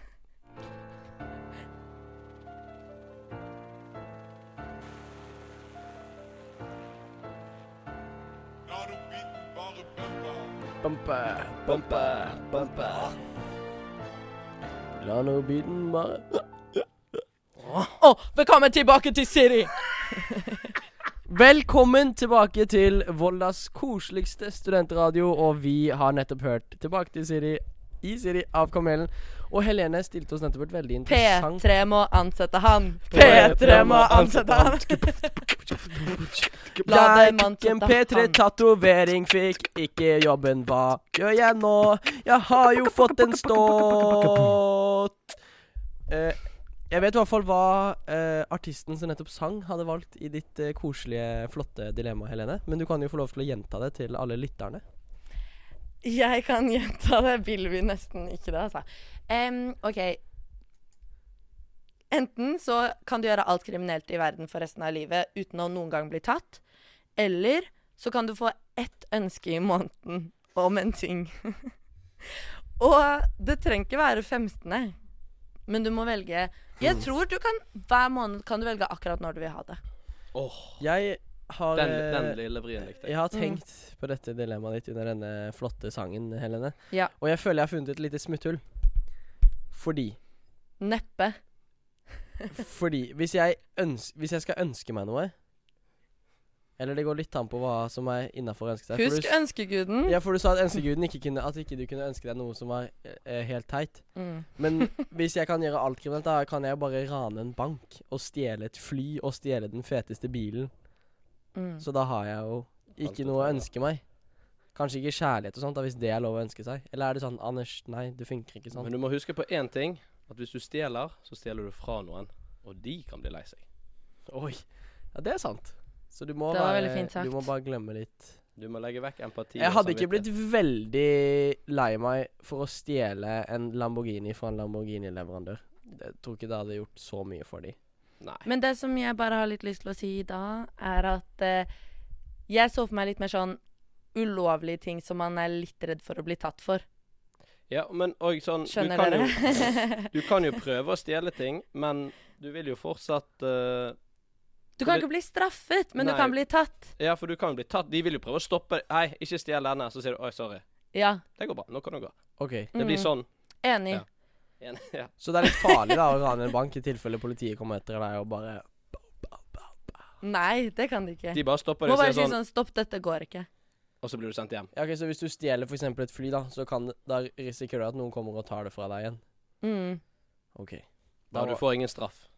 Speaker 4: Bumpe,
Speaker 1: Bumpe, bumpe.
Speaker 4: La nå biten bare
Speaker 2: Å, velkommen tilbake til City!
Speaker 4: Velkommen tilbake til Voldas koseligste studentradio, og vi har nettopp hørt Tilbake til Siri i Siri av Kamelen. Og Helene stilte oss nettopp et veldig interessant
Speaker 2: P3 må ansette han. P3 må ansette han. La dem
Speaker 4: Jeg fikk en
Speaker 2: ansette han.
Speaker 4: P3-tatovering, fikk ikke jobben, hva gjør jeg nå? Jeg har jo fått en ståt. Eh, jeg vet i hvert fall hva eh, artisten som nettopp sang, hadde valgt i ditt eh, koselige, flotte dilemma, Helene. Men du kan jo få lov til å gjenta det til alle lytterne.
Speaker 2: Jeg kan gjenta det. Vil vi nesten ikke det, altså. Em, OK. Enten så kan du gjøre alt kriminelt i verden for resten av livet uten å noen gang bli tatt. Eller så kan du få ett ønske i måneden om en ting. Og det trenger ikke være 15., men du må velge
Speaker 4: Mm.
Speaker 2: Jeg tror du kan hver måned kan du velge akkurat når du vil ha det.
Speaker 4: Jeg har
Speaker 1: Den,
Speaker 4: eh,
Speaker 1: den lille vrien likte jeg.
Speaker 4: Jeg har
Speaker 2: Mm.
Speaker 4: tenkt på dette dilemmaet ditt under denne flotte sangen, Helene.
Speaker 2: Ja.
Speaker 4: Og jeg føler jeg har funnet et lite smutthull. Fordi
Speaker 2: Neppe.
Speaker 4: Fordi hvis jeg, øns hvis jeg skal ønske meg noe Eller det går litt an på hva som er innafor ønsket deg.
Speaker 2: Husk
Speaker 4: for du,
Speaker 2: ønskeguden.
Speaker 4: s- ja, for du sa at ønskeguden ikke kunne At ikke du kunne ønske deg noe som var eh, helt teit.
Speaker 2: Mm.
Speaker 4: Men hvis jeg kan gjøre alt kriminelt, da kan jeg jo bare rane en bank og stjele et fly og stjele den feteste bilen.
Speaker 2: Mm.
Speaker 4: Så da har jeg jo
Speaker 1: Alt å
Speaker 4: ikke noe
Speaker 1: ta,
Speaker 4: å
Speaker 1: ja.
Speaker 4: ønske meg. Kanskje ikke kjærlighet og sånt, da, hvis det er lov å ønske seg. Eller er det sånn Anders, nei, det funker ikke sånn.
Speaker 1: Men du må huske på én ting. At hvis du stjeler, så stjeler du fra noen. Og de kan bli lei seg.
Speaker 4: Oi. Ja, det er sant. Så du må,
Speaker 2: Det var veldig
Speaker 4: være,
Speaker 2: fint sagt.
Speaker 4: du må bare glemme litt
Speaker 1: Du må legge vekk empati.
Speaker 4: Jeg
Speaker 1: og
Speaker 4: hadde ikke
Speaker 1: samvittighet.
Speaker 4: blitt veldig lei meg for å stjele en Lamborghini fra en Lamborghini-leverandør. Jeg tror ikke det hadde gjort så mye for dem.
Speaker 1: Nei.
Speaker 2: Men det som jeg bare har litt lyst til å si da, er at eh, jeg så for meg litt mer sånn ulovlige ting som man er litt redd for å bli tatt for.
Speaker 1: Ja, men og sånn du
Speaker 2: Skjønner
Speaker 1: kan,
Speaker 2: dere?
Speaker 1: jo, du kan jo prøve å stjele ting, men du vil jo fortsatt eh,
Speaker 2: Du kan ikke bli straffet, men
Speaker 1: Nei.
Speaker 2: du kan bli tatt.
Speaker 1: Ja, for du kan jo bli tatt. De vil jo prøve å stoppe deg. Hei, ikke stjel denne. Så sier du oi, sorry.
Speaker 2: Ja,
Speaker 1: Det går bra. Nå kan du gå.
Speaker 4: Ok,
Speaker 1: Det blir
Speaker 2: Mm.
Speaker 1: sånn.
Speaker 2: enig.
Speaker 1: Ja. Igjen. Ja.
Speaker 4: Så det er litt farlig da å rane en bank i tilfelle politiet kommer etter deg og bare
Speaker 2: Nei, det kan de ikke.
Speaker 1: De bare stopper deg
Speaker 2: Må
Speaker 1: og
Speaker 2: bare
Speaker 1: sier
Speaker 2: si
Speaker 1: sånn,
Speaker 2: sånn Stopp, dette går ikke.
Speaker 1: og så blir du sendt hjem.
Speaker 4: Ja, ok, Så hvis du stjeler f.eks. et fly, da, så kan, det- da risikerer du at noen kommer og tar det fra deg igjen.
Speaker 2: Mm.
Speaker 4: Ok. Da
Speaker 1: Da du
Speaker 4: må-
Speaker 1: får ingen straff.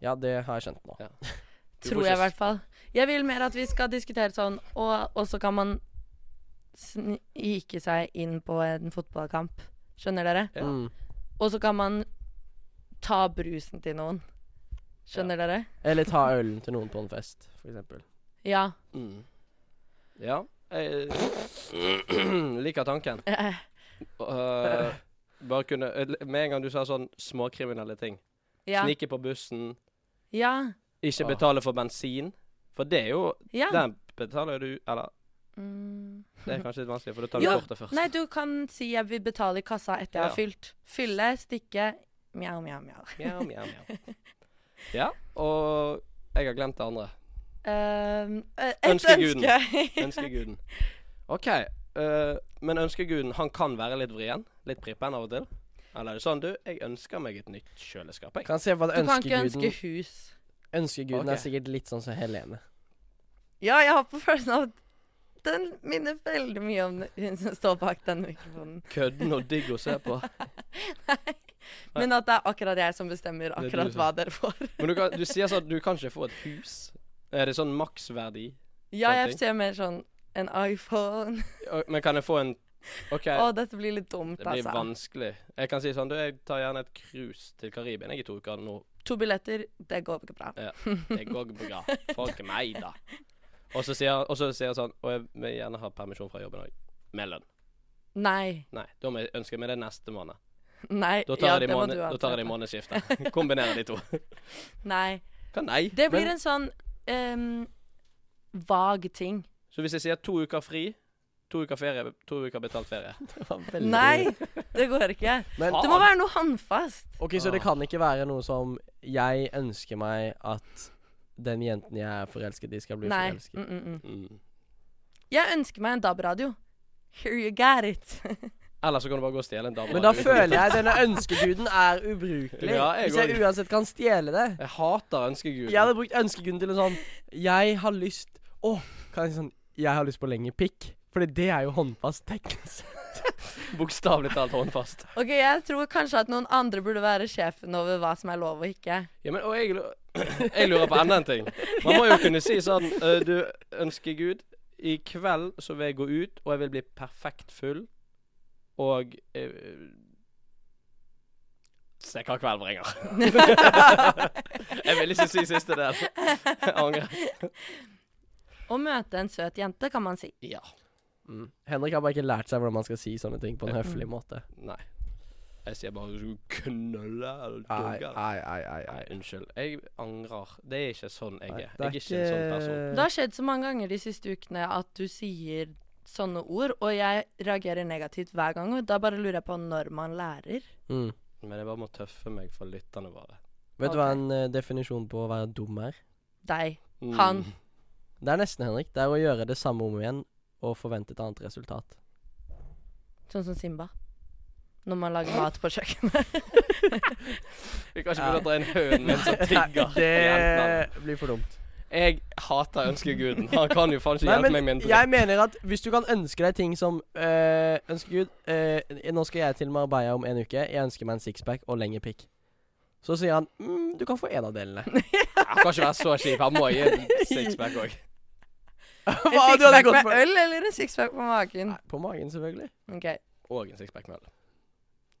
Speaker 4: Ja, det har jeg skjønt nå.
Speaker 1: Du
Speaker 2: Tror
Speaker 1: får
Speaker 2: jeg, i
Speaker 1: ikke-
Speaker 2: hvert fall. Jeg vil mer at vi skal diskutere sånn, og, og så kan man snike seg inn på en fotballkamp. Skjønner dere?
Speaker 1: Ja.
Speaker 4: Mm.
Speaker 2: Og så kan man ta brusen til noen. Skjønner dere?
Speaker 4: Eller ta ølen til noen på en fest, f.eks.
Speaker 2: Ja.
Speaker 1: Mm. Ja. Jeg liker tanken.
Speaker 2: Eh,
Speaker 1: Øh, bare kunne eh, Med en gang du sa sånn småkriminelle ting.
Speaker 2: Ja.
Speaker 1: Snike på bussen,
Speaker 2: Ja.
Speaker 1: ikke
Speaker 4: Åh.
Speaker 1: betale for bensin. For det er jo
Speaker 2: ja.
Speaker 1: Den betaler du Eller
Speaker 2: Mm.
Speaker 1: det er kanskje litt vanskelig, for da tar du
Speaker 2: Jo,
Speaker 1: kortet først.
Speaker 2: Nei, du kan si jeg vil betale i kassa etter jeg
Speaker 1: Ja.
Speaker 2: har fylt. Fylle, stikke, mjau, mjau, mjau.
Speaker 1: Mjau, mjau, mjau. Ja, og jeg har glemt det andre.
Speaker 2: Um, et
Speaker 1: Ønskeguden.
Speaker 2: ønske.
Speaker 1: Ønskeguden. OK. øh, men ønskeguden han kan være litt vrien? Litt prippen av og til? Eller er det sånn, du, jeg ønsker meg et nytt kjøleskap, jeg.
Speaker 4: Kan se for
Speaker 2: Du
Speaker 4: deg
Speaker 2: kan ikke ønske
Speaker 4: ønskeguden
Speaker 2: hus.
Speaker 4: Ønskeguden
Speaker 1: Ok.
Speaker 4: er sikkert litt sånn som Helene.
Speaker 2: Ja, jeg har på følelsen av at den minner veldig mye om hun som står bak den mikrofonen.
Speaker 1: Kødden og digg å se på.
Speaker 2: Men at det er akkurat jeg som bestemmer
Speaker 1: er du
Speaker 2: akkurat
Speaker 1: som-
Speaker 2: hva dere får.
Speaker 1: Men du, kan, du sier sånn at du kan ikke få et hus. Er det sånn maksverdi?
Speaker 2: Ja,
Speaker 1: Sant
Speaker 2: jeg
Speaker 1: ting.
Speaker 2: ser mer sånn en iPhone.
Speaker 1: Og- Men kan jeg få en OK,
Speaker 2: Å, dette blir litt dumt,
Speaker 1: det blir
Speaker 2: altså.
Speaker 1: vanskelig. Jeg kan si sånn, du, jeg tar gjerne et cruise til Karibien. Jeg er i to uker nå.
Speaker 2: To billetter, det går ikke bra.
Speaker 1: Det går bra. Fuck meg, da. Og så sier og så sier jeg sånn Og jeg vil gjerne ha permisjon fra jobben òg. Med lønn.
Speaker 2: Nei.
Speaker 1: Nei, da må jeg ønske meg det neste måned.
Speaker 2: Nei.
Speaker 1: Da tar
Speaker 2: ja,
Speaker 1: jeg det i
Speaker 2: må
Speaker 1: måned,
Speaker 2: du
Speaker 1: da tar jeg det i
Speaker 2: avslutte.
Speaker 1: månedsskiftet. Kombinerer de to.
Speaker 2: Nei.
Speaker 1: Hva nei?
Speaker 2: Det blir
Speaker 1: Men-
Speaker 2: en sånn ehm, vag ting.
Speaker 1: Så hvis jeg sier to uker fri, to uker ferie, to uker betalt ferie
Speaker 2: Nei, det går ikke.
Speaker 4: Men
Speaker 2: Det må være noe håndfast.
Speaker 4: Ok, så det
Speaker 1: Ah.
Speaker 4: kan ikke være noe som Jeg ønsker meg at den jenten jeg er forelsket i, skal bli
Speaker 2: Nei.
Speaker 4: forelsket.
Speaker 2: Mm, mm, mm.
Speaker 1: Mm.
Speaker 2: Jeg ønsker meg en DAB-radio. Here you got it.
Speaker 1: Eller så kan du bare gå og stjele en dame.
Speaker 4: Men da føler jeg denne ønskeguden er ubrukelig.
Speaker 1: Ja, jeg
Speaker 4: Hvis jeg
Speaker 1: òg.
Speaker 4: uansett kan stjele det.
Speaker 1: Jeg hater ønskeguden.
Speaker 4: Jeg hadde brukt ønskeguden til en sånn Jeg har lyst Å, kan jeg si sånn Jeg har lyst på lengre pikk. Fordi det er jo håndfast teknisk.
Speaker 1: Bokstavelig talt håndfast.
Speaker 2: Ok, Jeg tror kanskje at noen andre burde være sjefen over hva som er lov og ikke.
Speaker 1: Ja, men, og jeg, lu- jeg lurer på enda en ting. Man må jo kunne si sånn eh, Du, ønsker Gud, i kveld så vil jeg gå ut, og jeg vil bli perfekt full, og eh, Se hva kvelden bringer. jeg vil ikke si siste del. Jeg angrer.
Speaker 2: Å møte en søt jente, kan man si.
Speaker 1: Ja.
Speaker 4: Mm. Henrik har bare ikke lært seg hvordan man skal si sånne ting på en høflig
Speaker 2: Mm.
Speaker 4: måte.
Speaker 1: Nei. Jeg sier bare du knølle eller
Speaker 4: Nei,
Speaker 1: dunke.
Speaker 4: nei, nei, nei,
Speaker 1: Nei,
Speaker 4: nei.
Speaker 1: unnskyld. Jeg angrer. Det er ikke sånn jeg er.
Speaker 4: Nei,
Speaker 1: Jeg er ikke en sånn person.
Speaker 2: Det har skjedd så mange ganger de siste ukene at du sier sånne ord, og jeg reagerer negativt hver gang. Og da bare lurer jeg på når man lærer.
Speaker 4: Mm.
Speaker 1: Men jeg bare må tøffe meg for lytterne våre.
Speaker 4: Vet du hva
Speaker 2: Ok.
Speaker 4: en eh, definisjon på å være dum er?
Speaker 2: Deg.
Speaker 1: Mm.
Speaker 2: Han.
Speaker 4: Det er nesten, Henrik. Det er å gjøre det samme om igjen og forvente et annet resultat.
Speaker 2: Sånn som Simba. Når man lager mat på kjøkkenet.
Speaker 1: Vi kan ikke begynne å dra inn hønen min som tigger.
Speaker 4: det
Speaker 1: Jentene.
Speaker 4: blir for dumt.
Speaker 1: Jeg hater ønskeguden. Han kan jo faen ikke
Speaker 4: Nei,
Speaker 1: hjelpe meg med en
Speaker 4: men jeg mener at hvis du kan ønske deg ting som øh, Ønske Gud øh, Nå skal jeg til Marbella om en uke. Jeg ønsker meg en sixpack og lengre pikk. Så sier han mm, du kan få en av delene.
Speaker 1: Han kan ikke være så kjip. Han må gi en sixpack òg.
Speaker 4: Hva
Speaker 2: En
Speaker 4: du hadde
Speaker 2: sixpack
Speaker 4: gått
Speaker 2: med
Speaker 4: for?
Speaker 2: øl eller en sixpack på magen?
Speaker 4: Nei, på magen, selvfølgelig.
Speaker 2: Ok,
Speaker 1: Og en sixpack med øl.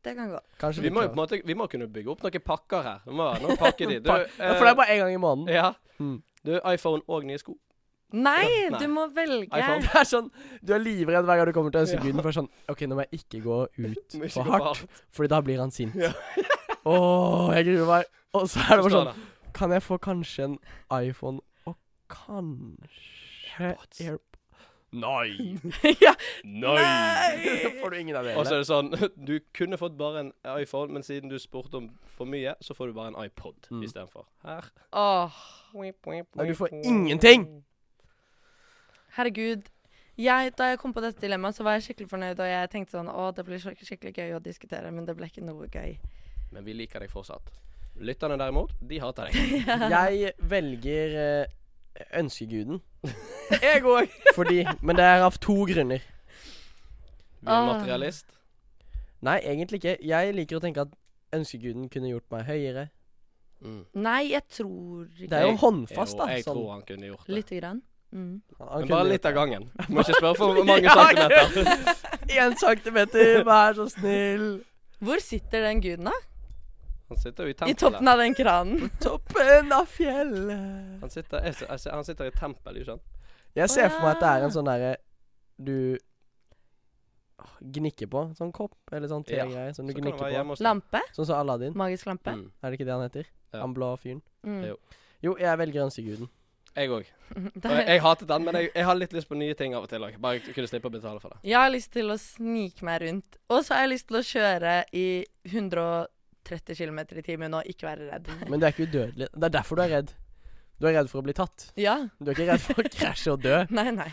Speaker 2: det kan gå.
Speaker 4: Kanskje
Speaker 1: Vi
Speaker 4: litt
Speaker 1: må jo på
Speaker 4: klar.
Speaker 1: en måte Vi må kunne bygge opp noen pakker her. Vi må ha noen pakker de. Du, eh,
Speaker 4: Pak- Ja, For det er bare én gang i måneden.
Speaker 1: Ja.
Speaker 4: Mm.
Speaker 1: Du, iPhone og nye sko.
Speaker 2: Nei,
Speaker 1: Nei.
Speaker 2: du må velge.
Speaker 1: iPhone.
Speaker 4: Det er sånn, Du er livredd hver gang du kommer til Østeguden. For sånn OK, nå må jeg ikke gå ut
Speaker 1: Må ikke
Speaker 4: for
Speaker 1: gå
Speaker 4: hardt, Fordi da blir han sint.
Speaker 1: Ja.
Speaker 4: Åh, jeg gruer meg. Og så er det bare
Speaker 1: Forstår
Speaker 4: sånn Kan jeg få kanskje en iPhone og kanskje AirPods? Nei!
Speaker 2: ja.
Speaker 4: får du ingen av
Speaker 1: Og så er det sånn Du kunne fått bare en iPhone, men siden du spurte om for mye, så får du bare en iPod
Speaker 4: Mm.
Speaker 1: istedenfor. Her.
Speaker 2: Åh,
Speaker 4: Nei, du får ingenting!
Speaker 2: herregud. Jeg, da jeg kom på dette dilemmaet, så var jeg skikkelig fornøyd, og jeg tenkte sånn Å, det blir skik- skikkelig gøy å diskutere, men det ble ikke noe gøy.
Speaker 1: Men vi liker deg fortsatt. Lytterne derimot, de hater deg.
Speaker 4: Jeg velger eh, ønskeguden.
Speaker 1: Jeg òg.
Speaker 4: Fordi Men det er av to grunner.
Speaker 1: Vi er
Speaker 2: Ah.
Speaker 1: materialist.
Speaker 4: Nei, egentlig ikke. Jeg liker å tenke at ønskeguden kunne gjort meg høyere.
Speaker 1: Mm.
Speaker 2: Nei, jeg tror ikke
Speaker 4: Det er jo
Speaker 1: Jeg-
Speaker 4: håndfast, da.
Speaker 1: Jo, jeg
Speaker 4: sånn.
Speaker 1: tror han kunne gjort det.
Speaker 2: Lite grann. Mm.
Speaker 4: Han
Speaker 1: Men
Speaker 4: kunne
Speaker 1: bare
Speaker 4: gjort
Speaker 1: litt av
Speaker 4: det.
Speaker 1: gangen. Du må ikke spørre for mange centimeter.
Speaker 4: Én centimeter, vær så snill.
Speaker 2: Hvor sitter den guden, da?
Speaker 1: Han sitter jo i
Speaker 2: I
Speaker 1: tempelet.
Speaker 2: toppen av den kranen?
Speaker 4: Toppen av fjellet.
Speaker 1: Han sitter, jeg, ser- jeg, ser- han sitter i tempel, ikke sant?
Speaker 4: Jeg ser for meg at det er
Speaker 2: ja.
Speaker 4: en sånn derre du Åh, gnikker på. Sånn kopp eller sånn
Speaker 1: Ja,
Speaker 4: tegreie som
Speaker 1: Så
Speaker 4: du
Speaker 1: kan han
Speaker 4: gnikker
Speaker 1: være
Speaker 4: på.
Speaker 1: hjemme hos deg.
Speaker 2: Lampe?
Speaker 4: Sånn som Aladdin.
Speaker 2: Magisk lampe?
Speaker 1: Mm.
Speaker 4: Er det ikke det han heter?
Speaker 1: Ja.
Speaker 4: Han blå fyren.
Speaker 2: Mm.
Speaker 1: Jo.
Speaker 4: Jo, jeg velger ønskeguden.
Speaker 1: Jeg òg. Og Jeg,
Speaker 2: Der.
Speaker 1: jeg hatet den, men jeg, jeg har litt lyst på nye ting av og til òg. Bare kunne slippe å betale for det.
Speaker 2: Jeg har lyst til å snike meg rundt. Og så har jeg lyst til å kjøre i 130 km i timen og ikke være redd.
Speaker 4: Men du er ikke udødelig. Det er derfor du er redd. Du er redd for å bli tatt.
Speaker 2: Ja.
Speaker 4: Du er ikke redd for å krasje og dø.
Speaker 2: Nei, nei.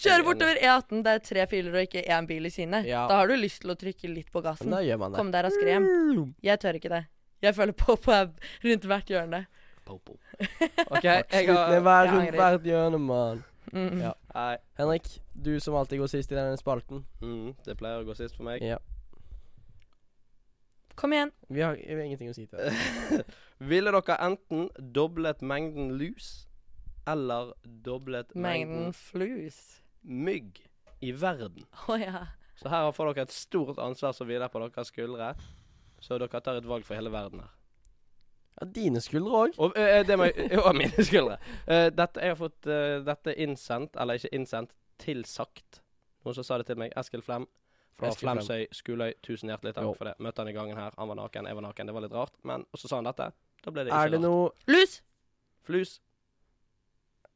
Speaker 2: Kjøre bortover E18, det er tre filer og ikke én bil i synet.
Speaker 4: Ja.
Speaker 2: Da har du lyst til å trykke litt på gassen.
Speaker 4: Men da gjør man det.
Speaker 2: Kom deg raskere hjem. Jeg tør ikke det. Jeg føler på på rundt hvert hjørne.
Speaker 1: Popo. OK, jeg
Speaker 4: Slutt med å
Speaker 1: har
Speaker 4: være
Speaker 2: Jeg
Speaker 4: rundt
Speaker 2: angrer.
Speaker 4: hvert hjørne, mann.
Speaker 2: Mm.
Speaker 4: Ja.
Speaker 1: Nei.
Speaker 4: Henrik, du som alltid går sist i denne spalten.
Speaker 1: Mm, det pleier å gå sist for meg.
Speaker 4: Ja.
Speaker 2: Kom igjen.
Speaker 4: Vi har, vi har ingenting å si til det.
Speaker 1: Ville dere enten doblet mengden lus eller doblet
Speaker 2: Mengden
Speaker 1: mengden
Speaker 2: flus.
Speaker 1: mygg i verden?
Speaker 2: Å ja.
Speaker 1: Så her får dere et stort ansvar som hviler på deres skuldre. Så dere tar et valg for hele verden her.
Speaker 4: Ja, dine skuldre òg.
Speaker 1: Og eh, det må jeg Og mine skuldre. Eh, dette, jeg har fått eh, dette innsendt, eller ikke innsendt, tilsagt. Noen som sa det til meg. Eskil Flem. Fra
Speaker 4: Eskil Flem.
Speaker 1: Flemsøy, Skuløy. Tusen hjertelig takk
Speaker 4: Jo.
Speaker 1: for det. Møtte han i gangen her. Han var naken, jeg var naken. Det var litt rart. Men og så sa han dette. Da ble det ikke
Speaker 4: Er det
Speaker 1: rart.
Speaker 4: noe
Speaker 2: Lus!
Speaker 1: Flus.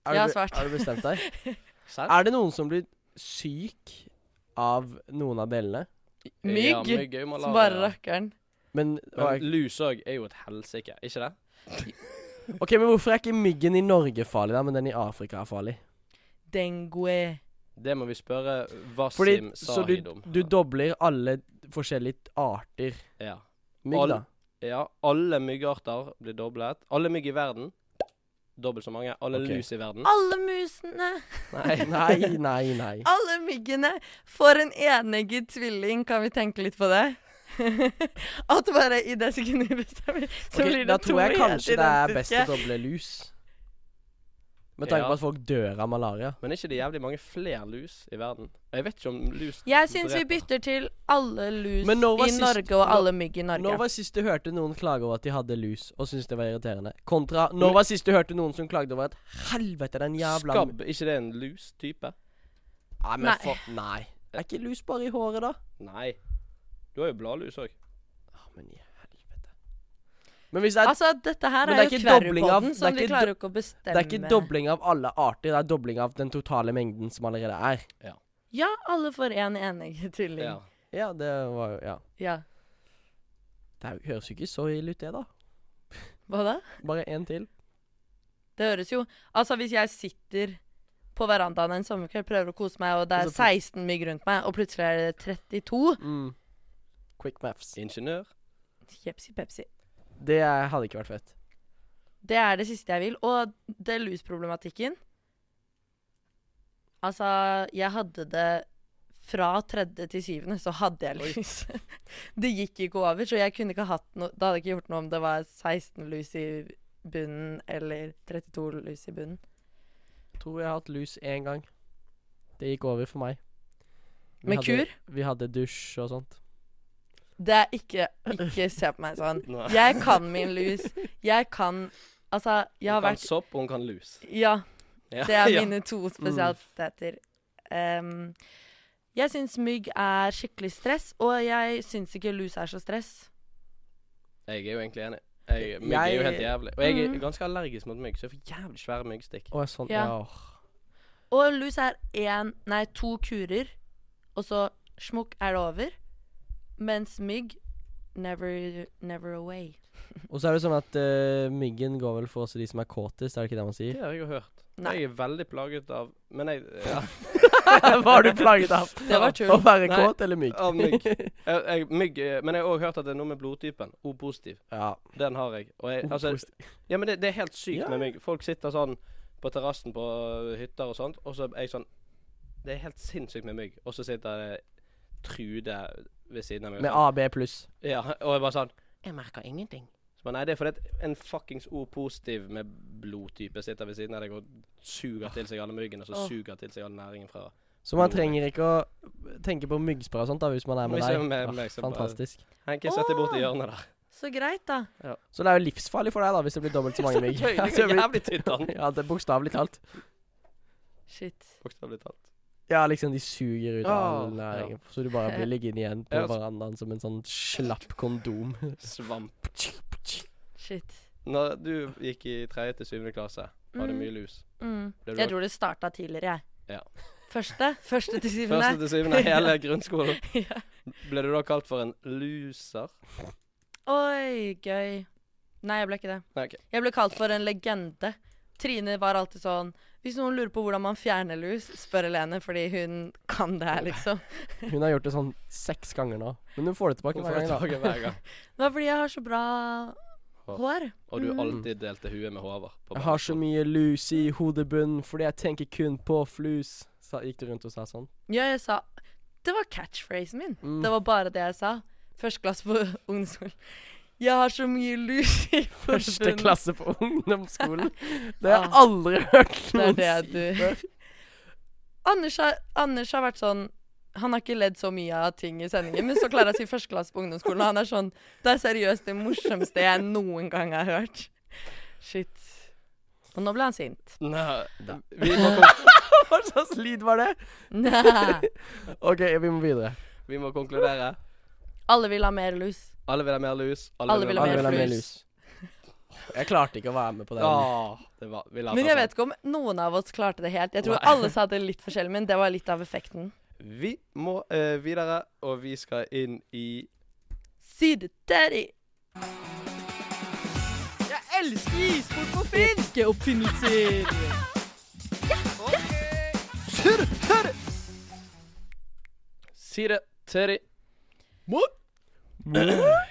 Speaker 4: er
Speaker 2: Jeg har
Speaker 4: du,
Speaker 2: svart.
Speaker 4: Har du bestemt deg?
Speaker 1: Serr?
Speaker 4: Er det noen som blir syk av noen av delene?
Speaker 1: Ja,
Speaker 2: Mygg.
Speaker 1: mygg er jo
Speaker 2: Som
Speaker 1: malaria.
Speaker 2: bare rakkeren.
Speaker 4: Men,
Speaker 1: Men lus òg er jo et helsike, ikke det?
Speaker 4: Ok, men Hvorfor er ikke myggen i Norge farlig, da, men den i Afrika er farlig?
Speaker 2: Dengue.
Speaker 1: Det må vi spørre Wasim
Speaker 4: Fordi, så du,
Speaker 1: Sahid om.
Speaker 4: du dobler alle forskjellige arter
Speaker 1: ja.
Speaker 4: mygg,
Speaker 1: All-
Speaker 4: da.
Speaker 1: ja. Alle myggarter blir doblet. Alle mygg i verden. Dobbelt så mange. Alle
Speaker 4: Ok.
Speaker 1: lus i verden.
Speaker 2: Alle musene!
Speaker 4: Nei, nei, nei. nei.
Speaker 2: Alle myggene får en enegget tvilling, kan vi tenke litt på det? At bare i det sekundet vi bestemmer, så
Speaker 4: Ok,
Speaker 2: blir det
Speaker 4: da
Speaker 2: to
Speaker 4: tror jeg
Speaker 2: helt
Speaker 4: kanskje det er best å
Speaker 2: identiske.
Speaker 4: doble lus. Med tanke
Speaker 1: Ja.
Speaker 4: på at folk dør av malaria.
Speaker 1: Men er ikke det jævlig mange flere lus i verden? Jeg vet ikke om lus
Speaker 2: Jeg syns vi
Speaker 1: dreper.
Speaker 2: bytter til alle lus
Speaker 4: Men når var
Speaker 2: i
Speaker 4: sist-
Speaker 2: Norge og
Speaker 4: når-
Speaker 2: alle mygg i Norge.
Speaker 4: Når var sist du hørte noen klage over at de hadde lus, og syntes det var irriterende? Kontra når var sist du hørte noen som klagde over at helvete, den jævla
Speaker 1: Skabb, er ikke det en lus-type?
Speaker 4: Nei, men
Speaker 2: Nei.
Speaker 4: For, nei. Er ikke lus bare i håret, da?
Speaker 1: Nei. Du har jo bladlus òg.
Speaker 4: Å, Ah, men i helvete. Men hvis det er,
Speaker 2: Altså, dette her
Speaker 4: Men
Speaker 2: er,
Speaker 4: det er
Speaker 2: jo
Speaker 4: ikke dobling av-
Speaker 2: Kverupodden,
Speaker 4: det er
Speaker 2: som de
Speaker 4: ikke
Speaker 2: klarer jo ikke å
Speaker 4: det
Speaker 2: bestemme.
Speaker 4: er ikke dobling av alle arter, det er dobling av den totale mengden som allerede er.
Speaker 2: Ja, alle får én en enegget tvilling.
Speaker 1: Ja.
Speaker 2: Ja.
Speaker 4: Ja, det var jo Ja. Det er jo- høres jo ikke så ille ut, det, da.
Speaker 2: Hva da?
Speaker 4: Bare én til.
Speaker 2: Det høres jo Altså, hvis jeg sitter på verandaen en sommerkveld, prøver å kose meg, og det er
Speaker 4: Og så plut-
Speaker 2: 16 mygg rundt meg, og plutselig er det 32
Speaker 4: Mm. Quick maths.
Speaker 1: Ingeniør.
Speaker 2: Jepsi pepsi.
Speaker 4: Det er- hadde ikke vært fett.
Speaker 2: Det er det siste jeg vil. Og det lusproblematikken Altså, jeg hadde det fra tredje til syvende, så hadde jeg lus. det gikk ikke over, så jeg kunne ikke hatt noe Det hadde ikke gjort noe om det var 16 lus i bunnen eller 32 lus i bunnen.
Speaker 4: Tror jeg har hatt lus én gang. Det gikk over for meg. Vi
Speaker 2: Med
Speaker 4: hadde,
Speaker 2: kur?
Speaker 4: Vi hadde dusj og sånt.
Speaker 2: Det er ikke Ikke se på meg sånn.
Speaker 1: Nei.
Speaker 2: Jeg kan min lus. Jeg kan Altså, jeg har
Speaker 1: Hun kan
Speaker 2: vært
Speaker 1: sopp, og hun kan lus.
Speaker 2: Ja.
Speaker 1: Ja,
Speaker 2: Det er
Speaker 1: ja. Mm.
Speaker 2: mine to spesialiteter. Em, jeg syns mygg er skikkelig stress, og jeg syns ikke lus er så stress.
Speaker 1: Jeg er jo egentlig enig. Jeg, mygg er jo helt jævlig. Og jeg
Speaker 2: Mm.
Speaker 1: er ganske allergisk mot mygg, så jeg får jævlig svære myggstikk.
Speaker 4: Å, sånn, ja.
Speaker 2: Ja. Og lus er én, nei, to kurer, og så smukk er det over. Mens mygg never, never away.
Speaker 4: Og så er det sånn at eh, myggen går vel for også de som er kåtest, er det ikke det man
Speaker 1: Det
Speaker 4: sier?
Speaker 1: har jeg jo hørt.
Speaker 2: Nei.
Speaker 1: Jeg er veldig plaget av Men jeg ja,
Speaker 4: Hva har du plaget av?
Speaker 2: Det var tull.
Speaker 4: Å være
Speaker 1: Nei.
Speaker 4: kåt eller mygg?
Speaker 1: av mygg. Jeg, jeg, mygg eh, men jeg har òg hørt at det er noe med blodtypen. O-positiv.
Speaker 4: Ja.
Speaker 1: Den har jeg. Og jeg altså,
Speaker 4: Positivt.
Speaker 1: ja, men det, det er helt sykt
Speaker 4: Ja.
Speaker 1: med mygg. Folk sitter sånn på terrassen på eh, hytter og sånt, og så er jeg sånn Det er helt sinnssykt med mygg. Og så sitter eh, Trude ved siden av meg.
Speaker 4: Med AB pluss.
Speaker 1: Ja, og jeg bare sånn
Speaker 6: Jeg merker ingenting.
Speaker 1: Så bare, nei, det er fordi at en fuckings O-positiv med blodtype sitter ved siden av deg og suger til seg alle myggene, og så
Speaker 2: Åh.
Speaker 1: suger til seg all næringen fra
Speaker 4: Så man trenger ikke å tenke på myggspray og sånt da, hvis man er med
Speaker 1: Hvis jeg er
Speaker 4: deg.
Speaker 1: med
Speaker 4: Ah,
Speaker 1: meg, så bare-
Speaker 4: fantastisk.
Speaker 1: Henke, sett deg bort i hjørnet der.
Speaker 2: Så greit, da.
Speaker 4: Så det er jo livsfarlig for deg da, hvis det blir dobbelt så mange mygg.
Speaker 1: Gøy,
Speaker 4: Ja,
Speaker 1: det
Speaker 4: det
Speaker 1: er
Speaker 4: blir-
Speaker 1: jævlig tynt, han.
Speaker 4: ja, det er bokstavelig talt.
Speaker 2: Shit.
Speaker 1: Bokstavelig talt.
Speaker 4: Ja, liksom de suger ut all
Speaker 1: Åh,
Speaker 4: næringen, så du bare blir liggende igjen på
Speaker 1: Ja, altså-
Speaker 4: verandaen som en sånn slapp kondom.
Speaker 1: Svamp.
Speaker 2: Shit.
Speaker 1: Når du gikk i tredje til syvende klasse, var det
Speaker 2: Mm.
Speaker 1: mye lus.
Speaker 2: Mm.
Speaker 1: Ble du
Speaker 2: Jeg tror det starta tidligere, jeg.
Speaker 1: Ja.
Speaker 2: Første? Første til syvende.
Speaker 1: Første til syvende hele grunnskolen.
Speaker 2: Ja.
Speaker 1: Ble du da kalt for en loser?
Speaker 2: Oi, gøy. Nei, jeg ble ikke det.
Speaker 1: Nei, ok.
Speaker 2: Jeg ble kalt for en legende. Trine var alltid sånn Hvis noen lurer på hvordan man fjerner lus, spør Helene, fordi hun kan det her, liksom.
Speaker 4: Hun har gjort det sånn seks ganger nå, men hun får det tilbake
Speaker 1: Hun
Speaker 4: hver
Speaker 1: får
Speaker 4: gang da.
Speaker 1: tilbake hver gang.
Speaker 2: Det var fordi jeg har så bra hår.
Speaker 1: Og du
Speaker 2: Mm.
Speaker 1: alltid delte huet med Håvard. på
Speaker 4: Jeg har så
Speaker 1: barneskolen.
Speaker 4: mye lus i hodebunnen fordi jeg tenker kun på flus. Sa, gikk du rundt og sa sånn?
Speaker 2: Ja, jeg sa Det var catchphrasen min.
Speaker 4: Mm.
Speaker 2: Det var bare det jeg sa. Første klasse på ungdomsskolen. Jeg har så mye lus i
Speaker 4: Første
Speaker 2: forbundet.
Speaker 4: klasse på ungdomsskolen. Det har jeg
Speaker 2: Ah.
Speaker 4: aldri hørt
Speaker 2: Det
Speaker 4: noen
Speaker 2: er det
Speaker 4: si.
Speaker 2: du Anders har, Anders har vært sånn Han har ikke ledd så mye av ting i sendingen, men så klarer jeg å si første klasse på ungdomsskolen, og han er sånn Det er seriøst det morsomste jeg noen gang har hørt. Shit. Og nå ble han sint.
Speaker 1: Nei, vi må, kon
Speaker 4: Hva slags lyd var det?
Speaker 2: Nei.
Speaker 4: OK, vi må videre.
Speaker 1: vi må konkludere.
Speaker 2: Alle vil ha mer lus.
Speaker 1: Alle vil ha mer lus.
Speaker 2: Alle vil ha
Speaker 4: Alle
Speaker 2: mer
Speaker 4: vil ha mer
Speaker 2: flus.
Speaker 4: lus. Jeg klarte ikke å være med på den.
Speaker 2: Ah.
Speaker 1: Ja, Ah, det var, vi la
Speaker 2: Men
Speaker 1: ta
Speaker 2: jeg
Speaker 1: sånn.
Speaker 2: vet ikke om noen av oss klarte det helt. Jeg tror
Speaker 1: Nei.
Speaker 2: alle sa det litt forskjellig, men det var litt av effekten.
Speaker 1: Vi må eh, videre, og vi skal inn i
Speaker 2: Side 30.
Speaker 5: Jeg elsker isport på film! Oppfinner!
Speaker 1: Side 30.
Speaker 5: Må-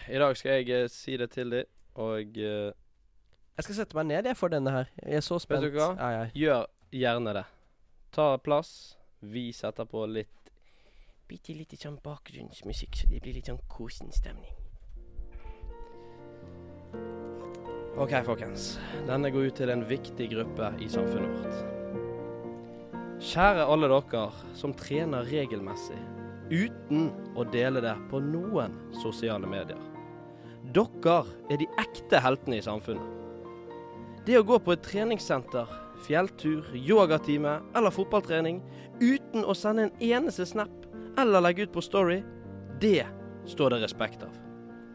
Speaker 1: I dag skal jeg eh, si det til dem, og eh,
Speaker 4: Jeg skal sette meg ned jeg for denne her. Jeg er så spent.
Speaker 1: du hva?
Speaker 4: Er jeg.
Speaker 1: gjør gjerne det. Ta plass. Vi setter på litt
Speaker 6: Bitte litt sånn bakgrunnsmusikk, så det blir litt sånn kosen stemning.
Speaker 1: OK, folkens. Denne går ut til en viktig gruppe i samfunnet vårt. Kjære alle dere som trener regelmessig uten å dele det på noen sosiale medier. Dere er de ekte heltene i samfunnet. Det å gå på et treningssenter, fjelltur, yogatime eller fotballtrening uten å sende en eneste snap eller legge ut på Story, det står det respekt av.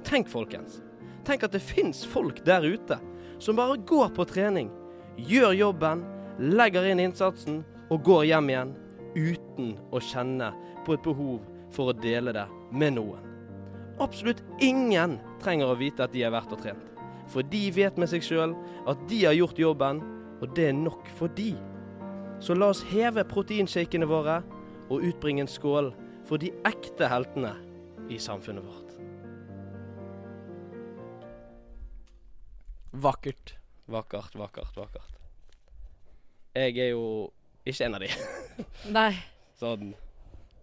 Speaker 1: Tenk, folkens. Tenk at det fins folk der ute som bare går på trening, gjør jobben, legger inn innsatsen og går hjem igjen uten å kjenne på et behov for å dele det med noen. Absolutt ingen trenger å vite at de har vært og trent, for de vet med seg sjøl at de har gjort jobben, og det er nok for de. Så la oss heve proteinshakene våre og utbringe en skål for de ekte heltene i samfunnet vårt.
Speaker 4: Vakkert.
Speaker 1: Vakkert, vakkert, vakkert. Jeg er jo ikke en av de.
Speaker 2: Nei.
Speaker 1: Sånn.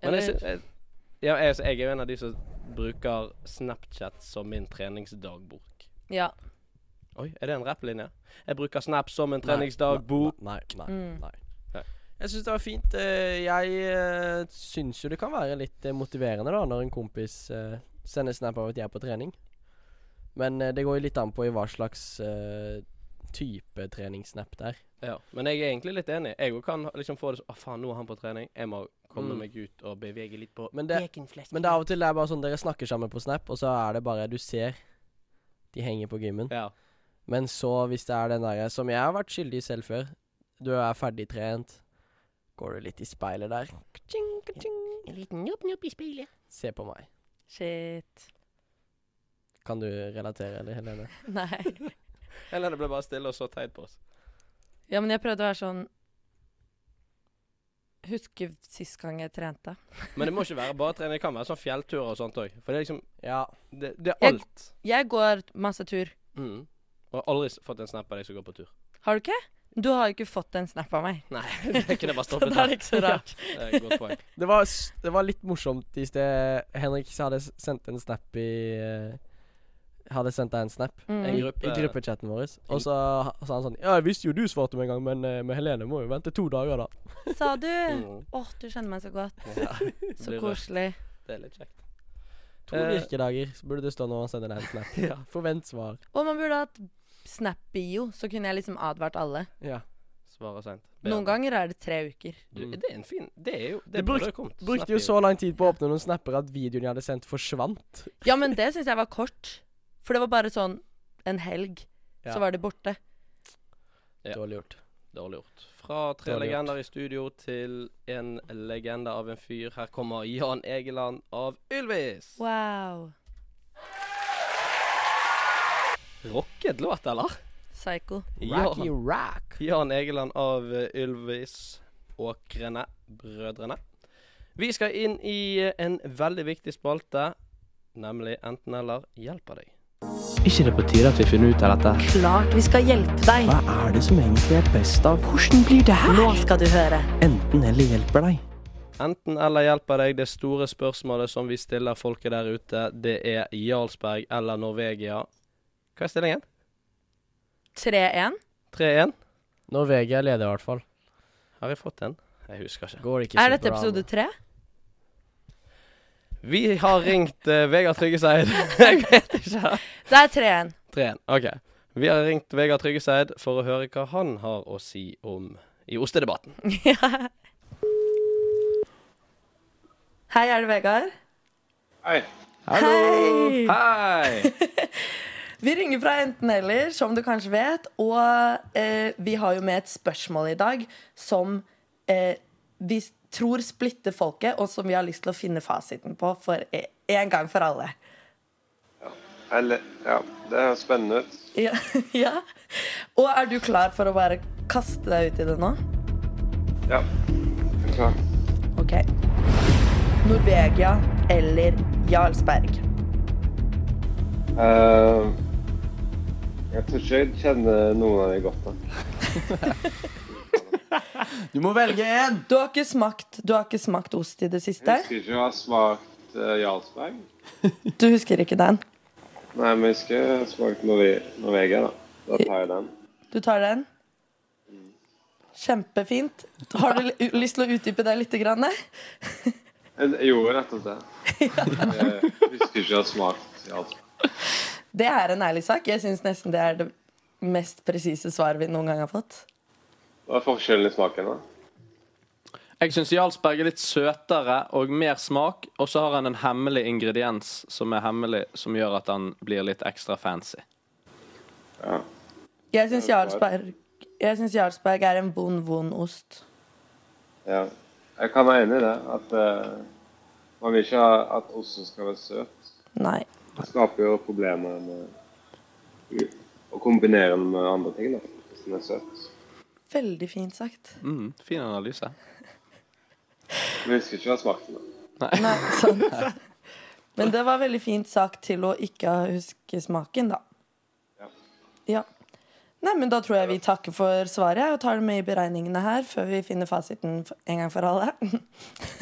Speaker 1: Men jeg, sy- jeg, ja, jeg, jeg er jo en av de som bruker Snapchat som min treningsdagbok.
Speaker 2: Ja.
Speaker 1: Oi, er det en rapplinje? Jeg bruker Snap som en
Speaker 4: Nei,
Speaker 1: treningsdagbok.
Speaker 4: Nei, nei, nei.
Speaker 2: Mm.
Speaker 4: nei.
Speaker 1: Nei.
Speaker 4: Jeg syns det var fint. Eh, Jeg eh, syns jo det kan være litt eh, motiverende da når en kompis eh, sender snap av at jeg er på trening. Men eh, det går jo litt an på i hva slags eh, type treningssnap det er.
Speaker 1: Ja, men jeg er egentlig litt enig. Jeg òg kan ha- liksom få det sånn Å, faen, nå er han på trening. Jeg må komme
Speaker 4: Mm.
Speaker 1: meg ut og bevege litt på
Speaker 4: Men det, men det er av og til det er bare sånn dere snakker sammen på snap, og så er det bare du ser de henger på gymmen.
Speaker 1: Ja.
Speaker 4: Men så, hvis det er den derre som jeg har vært skyldig i selv før, du er ferdigtrent, går du litt i speilet der, ka-ching, ka-ching,
Speaker 6: En liten jobb-jobb i speilet.
Speaker 4: se på meg.
Speaker 2: Shit.
Speaker 4: Kan du relatere, eller Helene?
Speaker 2: Nei.
Speaker 1: Eller det ble bare stille og så teit på oss.
Speaker 2: Ja, men jeg prøvde å være sånn Husker sist gang jeg trente.
Speaker 1: Men det må ikke være bare trening. Det kan være sånn fjellturer og sånt òg. For det er liksom
Speaker 4: Ja.
Speaker 1: Det, det er
Speaker 2: Jeg-
Speaker 1: alt.
Speaker 2: Jeg går masse tur.
Speaker 1: Mm. Og jeg har aldri s- fått en snap av deg som går på tur.
Speaker 2: Har du ikke? Du har jo ikke fått en snap av meg.
Speaker 1: Nei, det kunne jeg bare
Speaker 2: Så
Speaker 1: stoppet
Speaker 2: da er
Speaker 1: der.
Speaker 2: det ikke så rart.
Speaker 1: Det er et godt poeng.
Speaker 4: Det var, s- det var litt morsomt i sted. Henrik s- hadde s- sendt en snap i eh, Hadde sendt deg en snap
Speaker 1: En
Speaker 2: Mm.
Speaker 1: gruppe
Speaker 4: i gruppechatten vår, og så ha- sa han sånn Ja, jeg visste jo du svarte med en gang, men eh, med Helene må jo vente to dager, da.
Speaker 2: Sa du? Åh,
Speaker 1: Mm.
Speaker 2: du kjenner meg så godt.
Speaker 1: Ja,
Speaker 2: Så
Speaker 1: blir rørt.
Speaker 2: koselig.
Speaker 1: Det er litt kjekt.
Speaker 4: To
Speaker 1: Eh,
Speaker 4: virkedager så burde det stå når han sender deg en snap. ja. Forvent svar.
Speaker 2: Og man burde hatt snap-bio, så kunne jeg liksom advart alle.
Speaker 4: Ja.
Speaker 1: Eh, Svarer seint.
Speaker 2: Noen ganger er det tre uker.
Speaker 1: Du, Det er en fin Det er jo
Speaker 4: Du
Speaker 1: Det burde
Speaker 4: bruk-
Speaker 1: jo kommet.
Speaker 4: Brukte jo
Speaker 1: Snap
Speaker 4: så lang tid på å åpne noen snapper at videoen jeg hadde sendt, forsvant.
Speaker 2: Ja, men det syns jeg var kort. For det var bare sånn en helg,
Speaker 4: Ja.
Speaker 2: så var de borte.
Speaker 1: Ja.
Speaker 4: Dårlig gjort.
Speaker 1: Dårlig gjort. Fra tre
Speaker 4: Dårlig
Speaker 1: legender i studio til en legende av en fyr. Her kommer Jan Egeland av Ylvis.
Speaker 2: Wow.
Speaker 1: Rocket låt, eller?
Speaker 2: Psycho.
Speaker 1: Jan,
Speaker 4: rock.
Speaker 1: Jan Egeland av eh, Ylvis. Åkrene. Brødrene. Vi skal inn i eh, en veldig viktig spalte, nemlig Enten-eller hjelper deg.
Speaker 3: Ikke det på tide at vi finner ut av dette?
Speaker 2: Klart vi skal hjelpe deg.
Speaker 3: Hva er det som egentlig er best av? Hvordan blir det her?
Speaker 2: Nå skal du høre.
Speaker 3: Enten eller hjelper deg.
Speaker 1: Enten-eller hjelper deg. Det store spørsmålet som vi stiller folket der ute, det er Jarlsberg eller Norvegia. Hva er stillingen?
Speaker 2: 3-1.
Speaker 1: 3-1?
Speaker 4: Norvegia leder i hvert fall.
Speaker 1: Har jeg fått den? Jeg husker ikke.
Speaker 4: Går det ikke
Speaker 2: Er dette episode tre?
Speaker 1: Vi har ringt eh, Vegard Tryggeseid. jeg vet ikke.
Speaker 2: Det er 3-1.
Speaker 1: 3-1. OK. Vi har ringt Vegard Tryggeseid for å høre hva han har å si om i ostedebatten.
Speaker 2: Ja. Hei, er det Vegard?
Speaker 7: Hei.
Speaker 2: Hei!
Speaker 1: Hei!
Speaker 2: Vi ringer fra Enten Eller, som du kanskje vet. Og eh, vi har jo med et spørsmål i dag som eh, vi s- tror splitter folket, og som vi har lyst til å finne fasiten på for e- en gang for alle.
Speaker 7: Eller, ja, det høres spennende ut.
Speaker 2: Ja, ja. Og er du klar for å bare kaste deg ut i det nå?
Speaker 7: Ja, jeg er klar.
Speaker 2: Ok. Norvegia eller Jarlsberg?
Speaker 7: Eh, jeg tror ikke jeg kjenner noen av de godt. da.
Speaker 3: Du må velge en!
Speaker 2: Du har ikke smakt, du har ikke smakt ost i det
Speaker 7: Jeg
Speaker 2: siste?
Speaker 7: husker ikke å ha smakt eh, Jarlsberg.
Speaker 2: Du husker ikke den?
Speaker 7: Nei, men jeg husker jeg har smakt Norve Norvegia, da. Da tar jeg den.
Speaker 2: Du tar den? Kjempefint. Har du li- lyst til å utdype det litt? Grann?
Speaker 7: Jeg, jeg gjorde nettopp det. Jeg husker ikke å ha smakt Jarlsberg.
Speaker 2: Det er en ærlig sak. Jeg syns nesten det er det mest presise svaret vi noen gang har fått.
Speaker 7: Hva er forskjellen i smaken, da?
Speaker 8: Jeg syns Jarlsberg er litt søtere og mer smak, og så har han en hemmelig ingrediens som er hemmelig, som gjør at han blir litt ekstra fancy.
Speaker 7: Ja.
Speaker 2: Jeg syns Jarlsberg, jeg synes Jarlsberg er en vond, vond ost.
Speaker 7: ja. Jeg kan være enig i det. At eh, man vil ikke ha at osten skal være søt.
Speaker 2: Nei.
Speaker 7: Det skaper jo problemer med å kombinere den med andre ting, da. Hvis den er søt.
Speaker 2: Veldig fint sagt.
Speaker 8: Mm, fin analyse.
Speaker 7: Men jeg husker ikke hva smakte den. da.
Speaker 2: Nei, sant. Men det var veldig fint sagt til å ikke huske smaken, da. Ja. Nei, men Da tror jeg vi takker for svaret og tar det med i beregningene her før vi finner fasiten f- en gang for alle.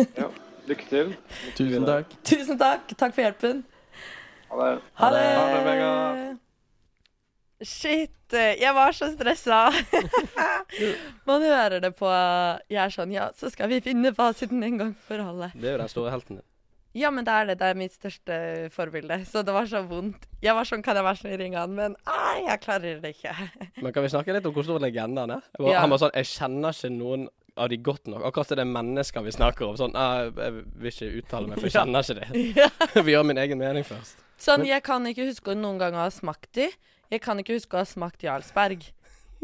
Speaker 7: Ja. Lykke til.
Speaker 3: Tusen takk.
Speaker 2: Tusen takk. Takk for hjelpen.
Speaker 7: Ha det.
Speaker 2: Ha det.
Speaker 7: Ha det, Vegard.
Speaker 2: Shit. Jeg var så stressa. Man hører det på Jeg er sånn Ja, så skal vi finne fasiten en gang for alle.
Speaker 1: Det er jo den store helten din.
Speaker 2: Ja, men det er det. Det er mitt største forbilde. Så det var så vondt. Jeg var sånn Kan jeg være snill å ringe han? Men nei, jeg klarer det ikke.
Speaker 1: Men kan vi snakke litt om hvor stor legenden han er? Jeg var,
Speaker 2: Ja.
Speaker 1: Han var sånn Jeg kjenner ikke noen av de godt nok. Akkurat det er mennesker vi snakker om. Sånn «Nei, Jeg vil ikke uttale meg, for jeg kjenner ikke det.
Speaker 2: Ja.
Speaker 1: Vi gjør min egen mening først.
Speaker 2: Sånn, jeg kan ikke huske å noen gang å ha smakt de. Jeg kan ikke huske å ha smakt Jarlsberg.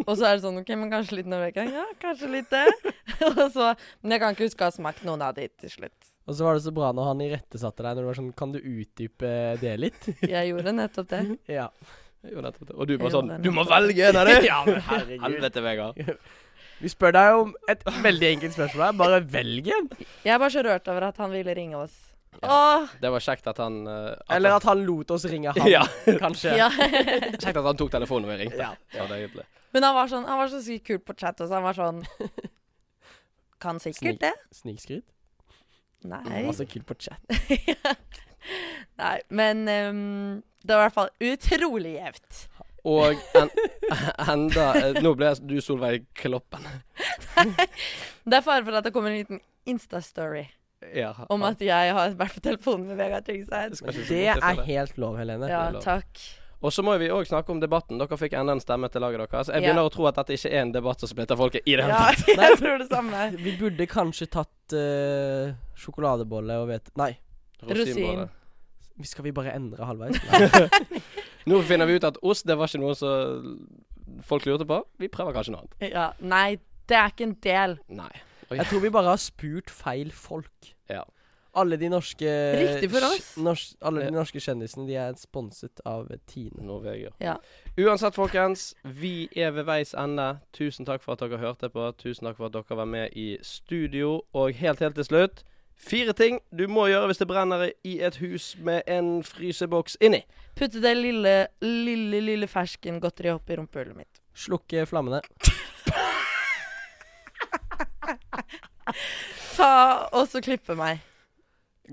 Speaker 2: Og så er det sånn, ok, men kanskje litt Norvegia? Ja, kanskje litt det. Og så, men jeg kan ikke huske å ha smakt noen av de til slutt.
Speaker 4: Og så var det så bra når han irettesatte deg når du var sånn Kan du utdype det litt?
Speaker 2: Jeg gjorde nettopp det.
Speaker 4: ja.
Speaker 1: Jeg gjorde nettopp det. Og du
Speaker 2: Jeg
Speaker 1: bare
Speaker 2: gjorde
Speaker 1: sånn Du må
Speaker 2: nettopp
Speaker 1: velge en av de!
Speaker 4: ja, men herregud.
Speaker 1: Helvete, Vegard.
Speaker 4: Vi spør deg om et veldig enkelt spørsmål her. Bare velg en.
Speaker 2: Jeg er bare så rørt over at han ville ringe oss. Åh,
Speaker 1: Det var kjekt at han eh, at
Speaker 4: Eller
Speaker 1: han-
Speaker 4: at han lot oss ringe han,
Speaker 1: Ja.
Speaker 4: kanskje.
Speaker 2: ja.
Speaker 1: Kjekt at han tok telefonen når jeg ringte.
Speaker 4: Ja.
Speaker 1: Ja, det er hyggelig.
Speaker 2: Men han var sånn, han var så sykt kul på chat også. Han var sånn, kan sikkert det.
Speaker 4: Snikskryt.
Speaker 2: Nei.
Speaker 4: Altså kult på chat.
Speaker 2: Nei, men ehm, det var i hvert fall utrolig jevnt.
Speaker 1: Og en, enda eh, Nå ble jeg- du Solveig Kloppen.
Speaker 2: Det er fare for at det kommer en liten Insta-story.
Speaker 1: Ja.
Speaker 2: Om at jeg har vært på telefonen med Vegard Tryggseid.
Speaker 1: Skal ikke se
Speaker 4: Det
Speaker 1: bort ifra
Speaker 4: er helt lov, Helene.
Speaker 2: Ja,
Speaker 1: lov.
Speaker 2: takk.
Speaker 1: Og så må vi òg snakke om debatten. Dere fikk enda en stemme til laget deres. Jeg
Speaker 2: Ja.
Speaker 1: begynner å tro at dette ikke er en debatt som splitter folket i det hele
Speaker 2: Ja,
Speaker 1: tatt.
Speaker 2: jeg tror det samme.
Speaker 4: Vi burde kanskje tatt eh, sjokoladebolle og hvete... Nei,
Speaker 1: Rosinbolle.
Speaker 2: Rosin.
Speaker 4: skal vi bare endre halvveis?
Speaker 1: Nå finner vi ut at ost, det var ikke noe som folk lurte på. Vi prøver kanskje noe annet.
Speaker 2: Ja, nei, det er ikke en del.
Speaker 1: Nei.
Speaker 4: Jeg tror vi bare har spurt feil folk.
Speaker 1: Ja.
Speaker 4: Alle de norske
Speaker 2: Riktig for oss.
Speaker 4: kj- nors- alle de norske kjendisene De er sponset av Tine.
Speaker 1: Norvegia.
Speaker 2: Ja.
Speaker 1: Uansett, folkens. Vi er ved veis ende. Tusen takk for at dere hørte på. Tusen takk for at dere var med i studio. Og helt, helt til slutt Fire ting du må gjøre hvis det brenner i et hus med en fryseboks inni.
Speaker 2: Putte det lille, lille, lille fersken godteriet opp i rumpehullet mitt.
Speaker 4: Slukke flammene.
Speaker 2: Ta og så klippe meg.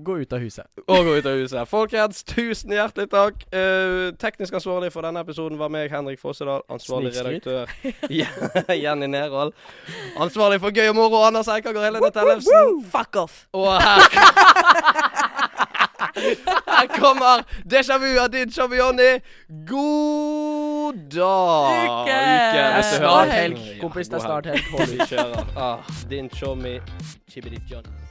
Speaker 4: Gå ut av huset.
Speaker 1: Og gå ut av huset. Folkens, tusen hjertelig takk. Eh, teknisk ansvarlig for denne episoden var meg, Henrik Fossedal. Ansvarlig
Speaker 4: Snikskryt.
Speaker 1: redaktør Jen- Jenny Nerhold. Ansvarlig for gøy og moro, Anders Eikanger og Helene Tellefsen.
Speaker 2: Fuck off.
Speaker 1: Og her Her kommer déjà vu av din Championi. God dag.
Speaker 2: Uke.
Speaker 1: hvis du hører
Speaker 2: Det er snart
Speaker 1: den.
Speaker 4: helg,
Speaker 1: Ja,
Speaker 4: kompis. Det er
Speaker 1: god
Speaker 4: snart helg.
Speaker 1: Vi kjører. Ah, din chommy, chibidi John.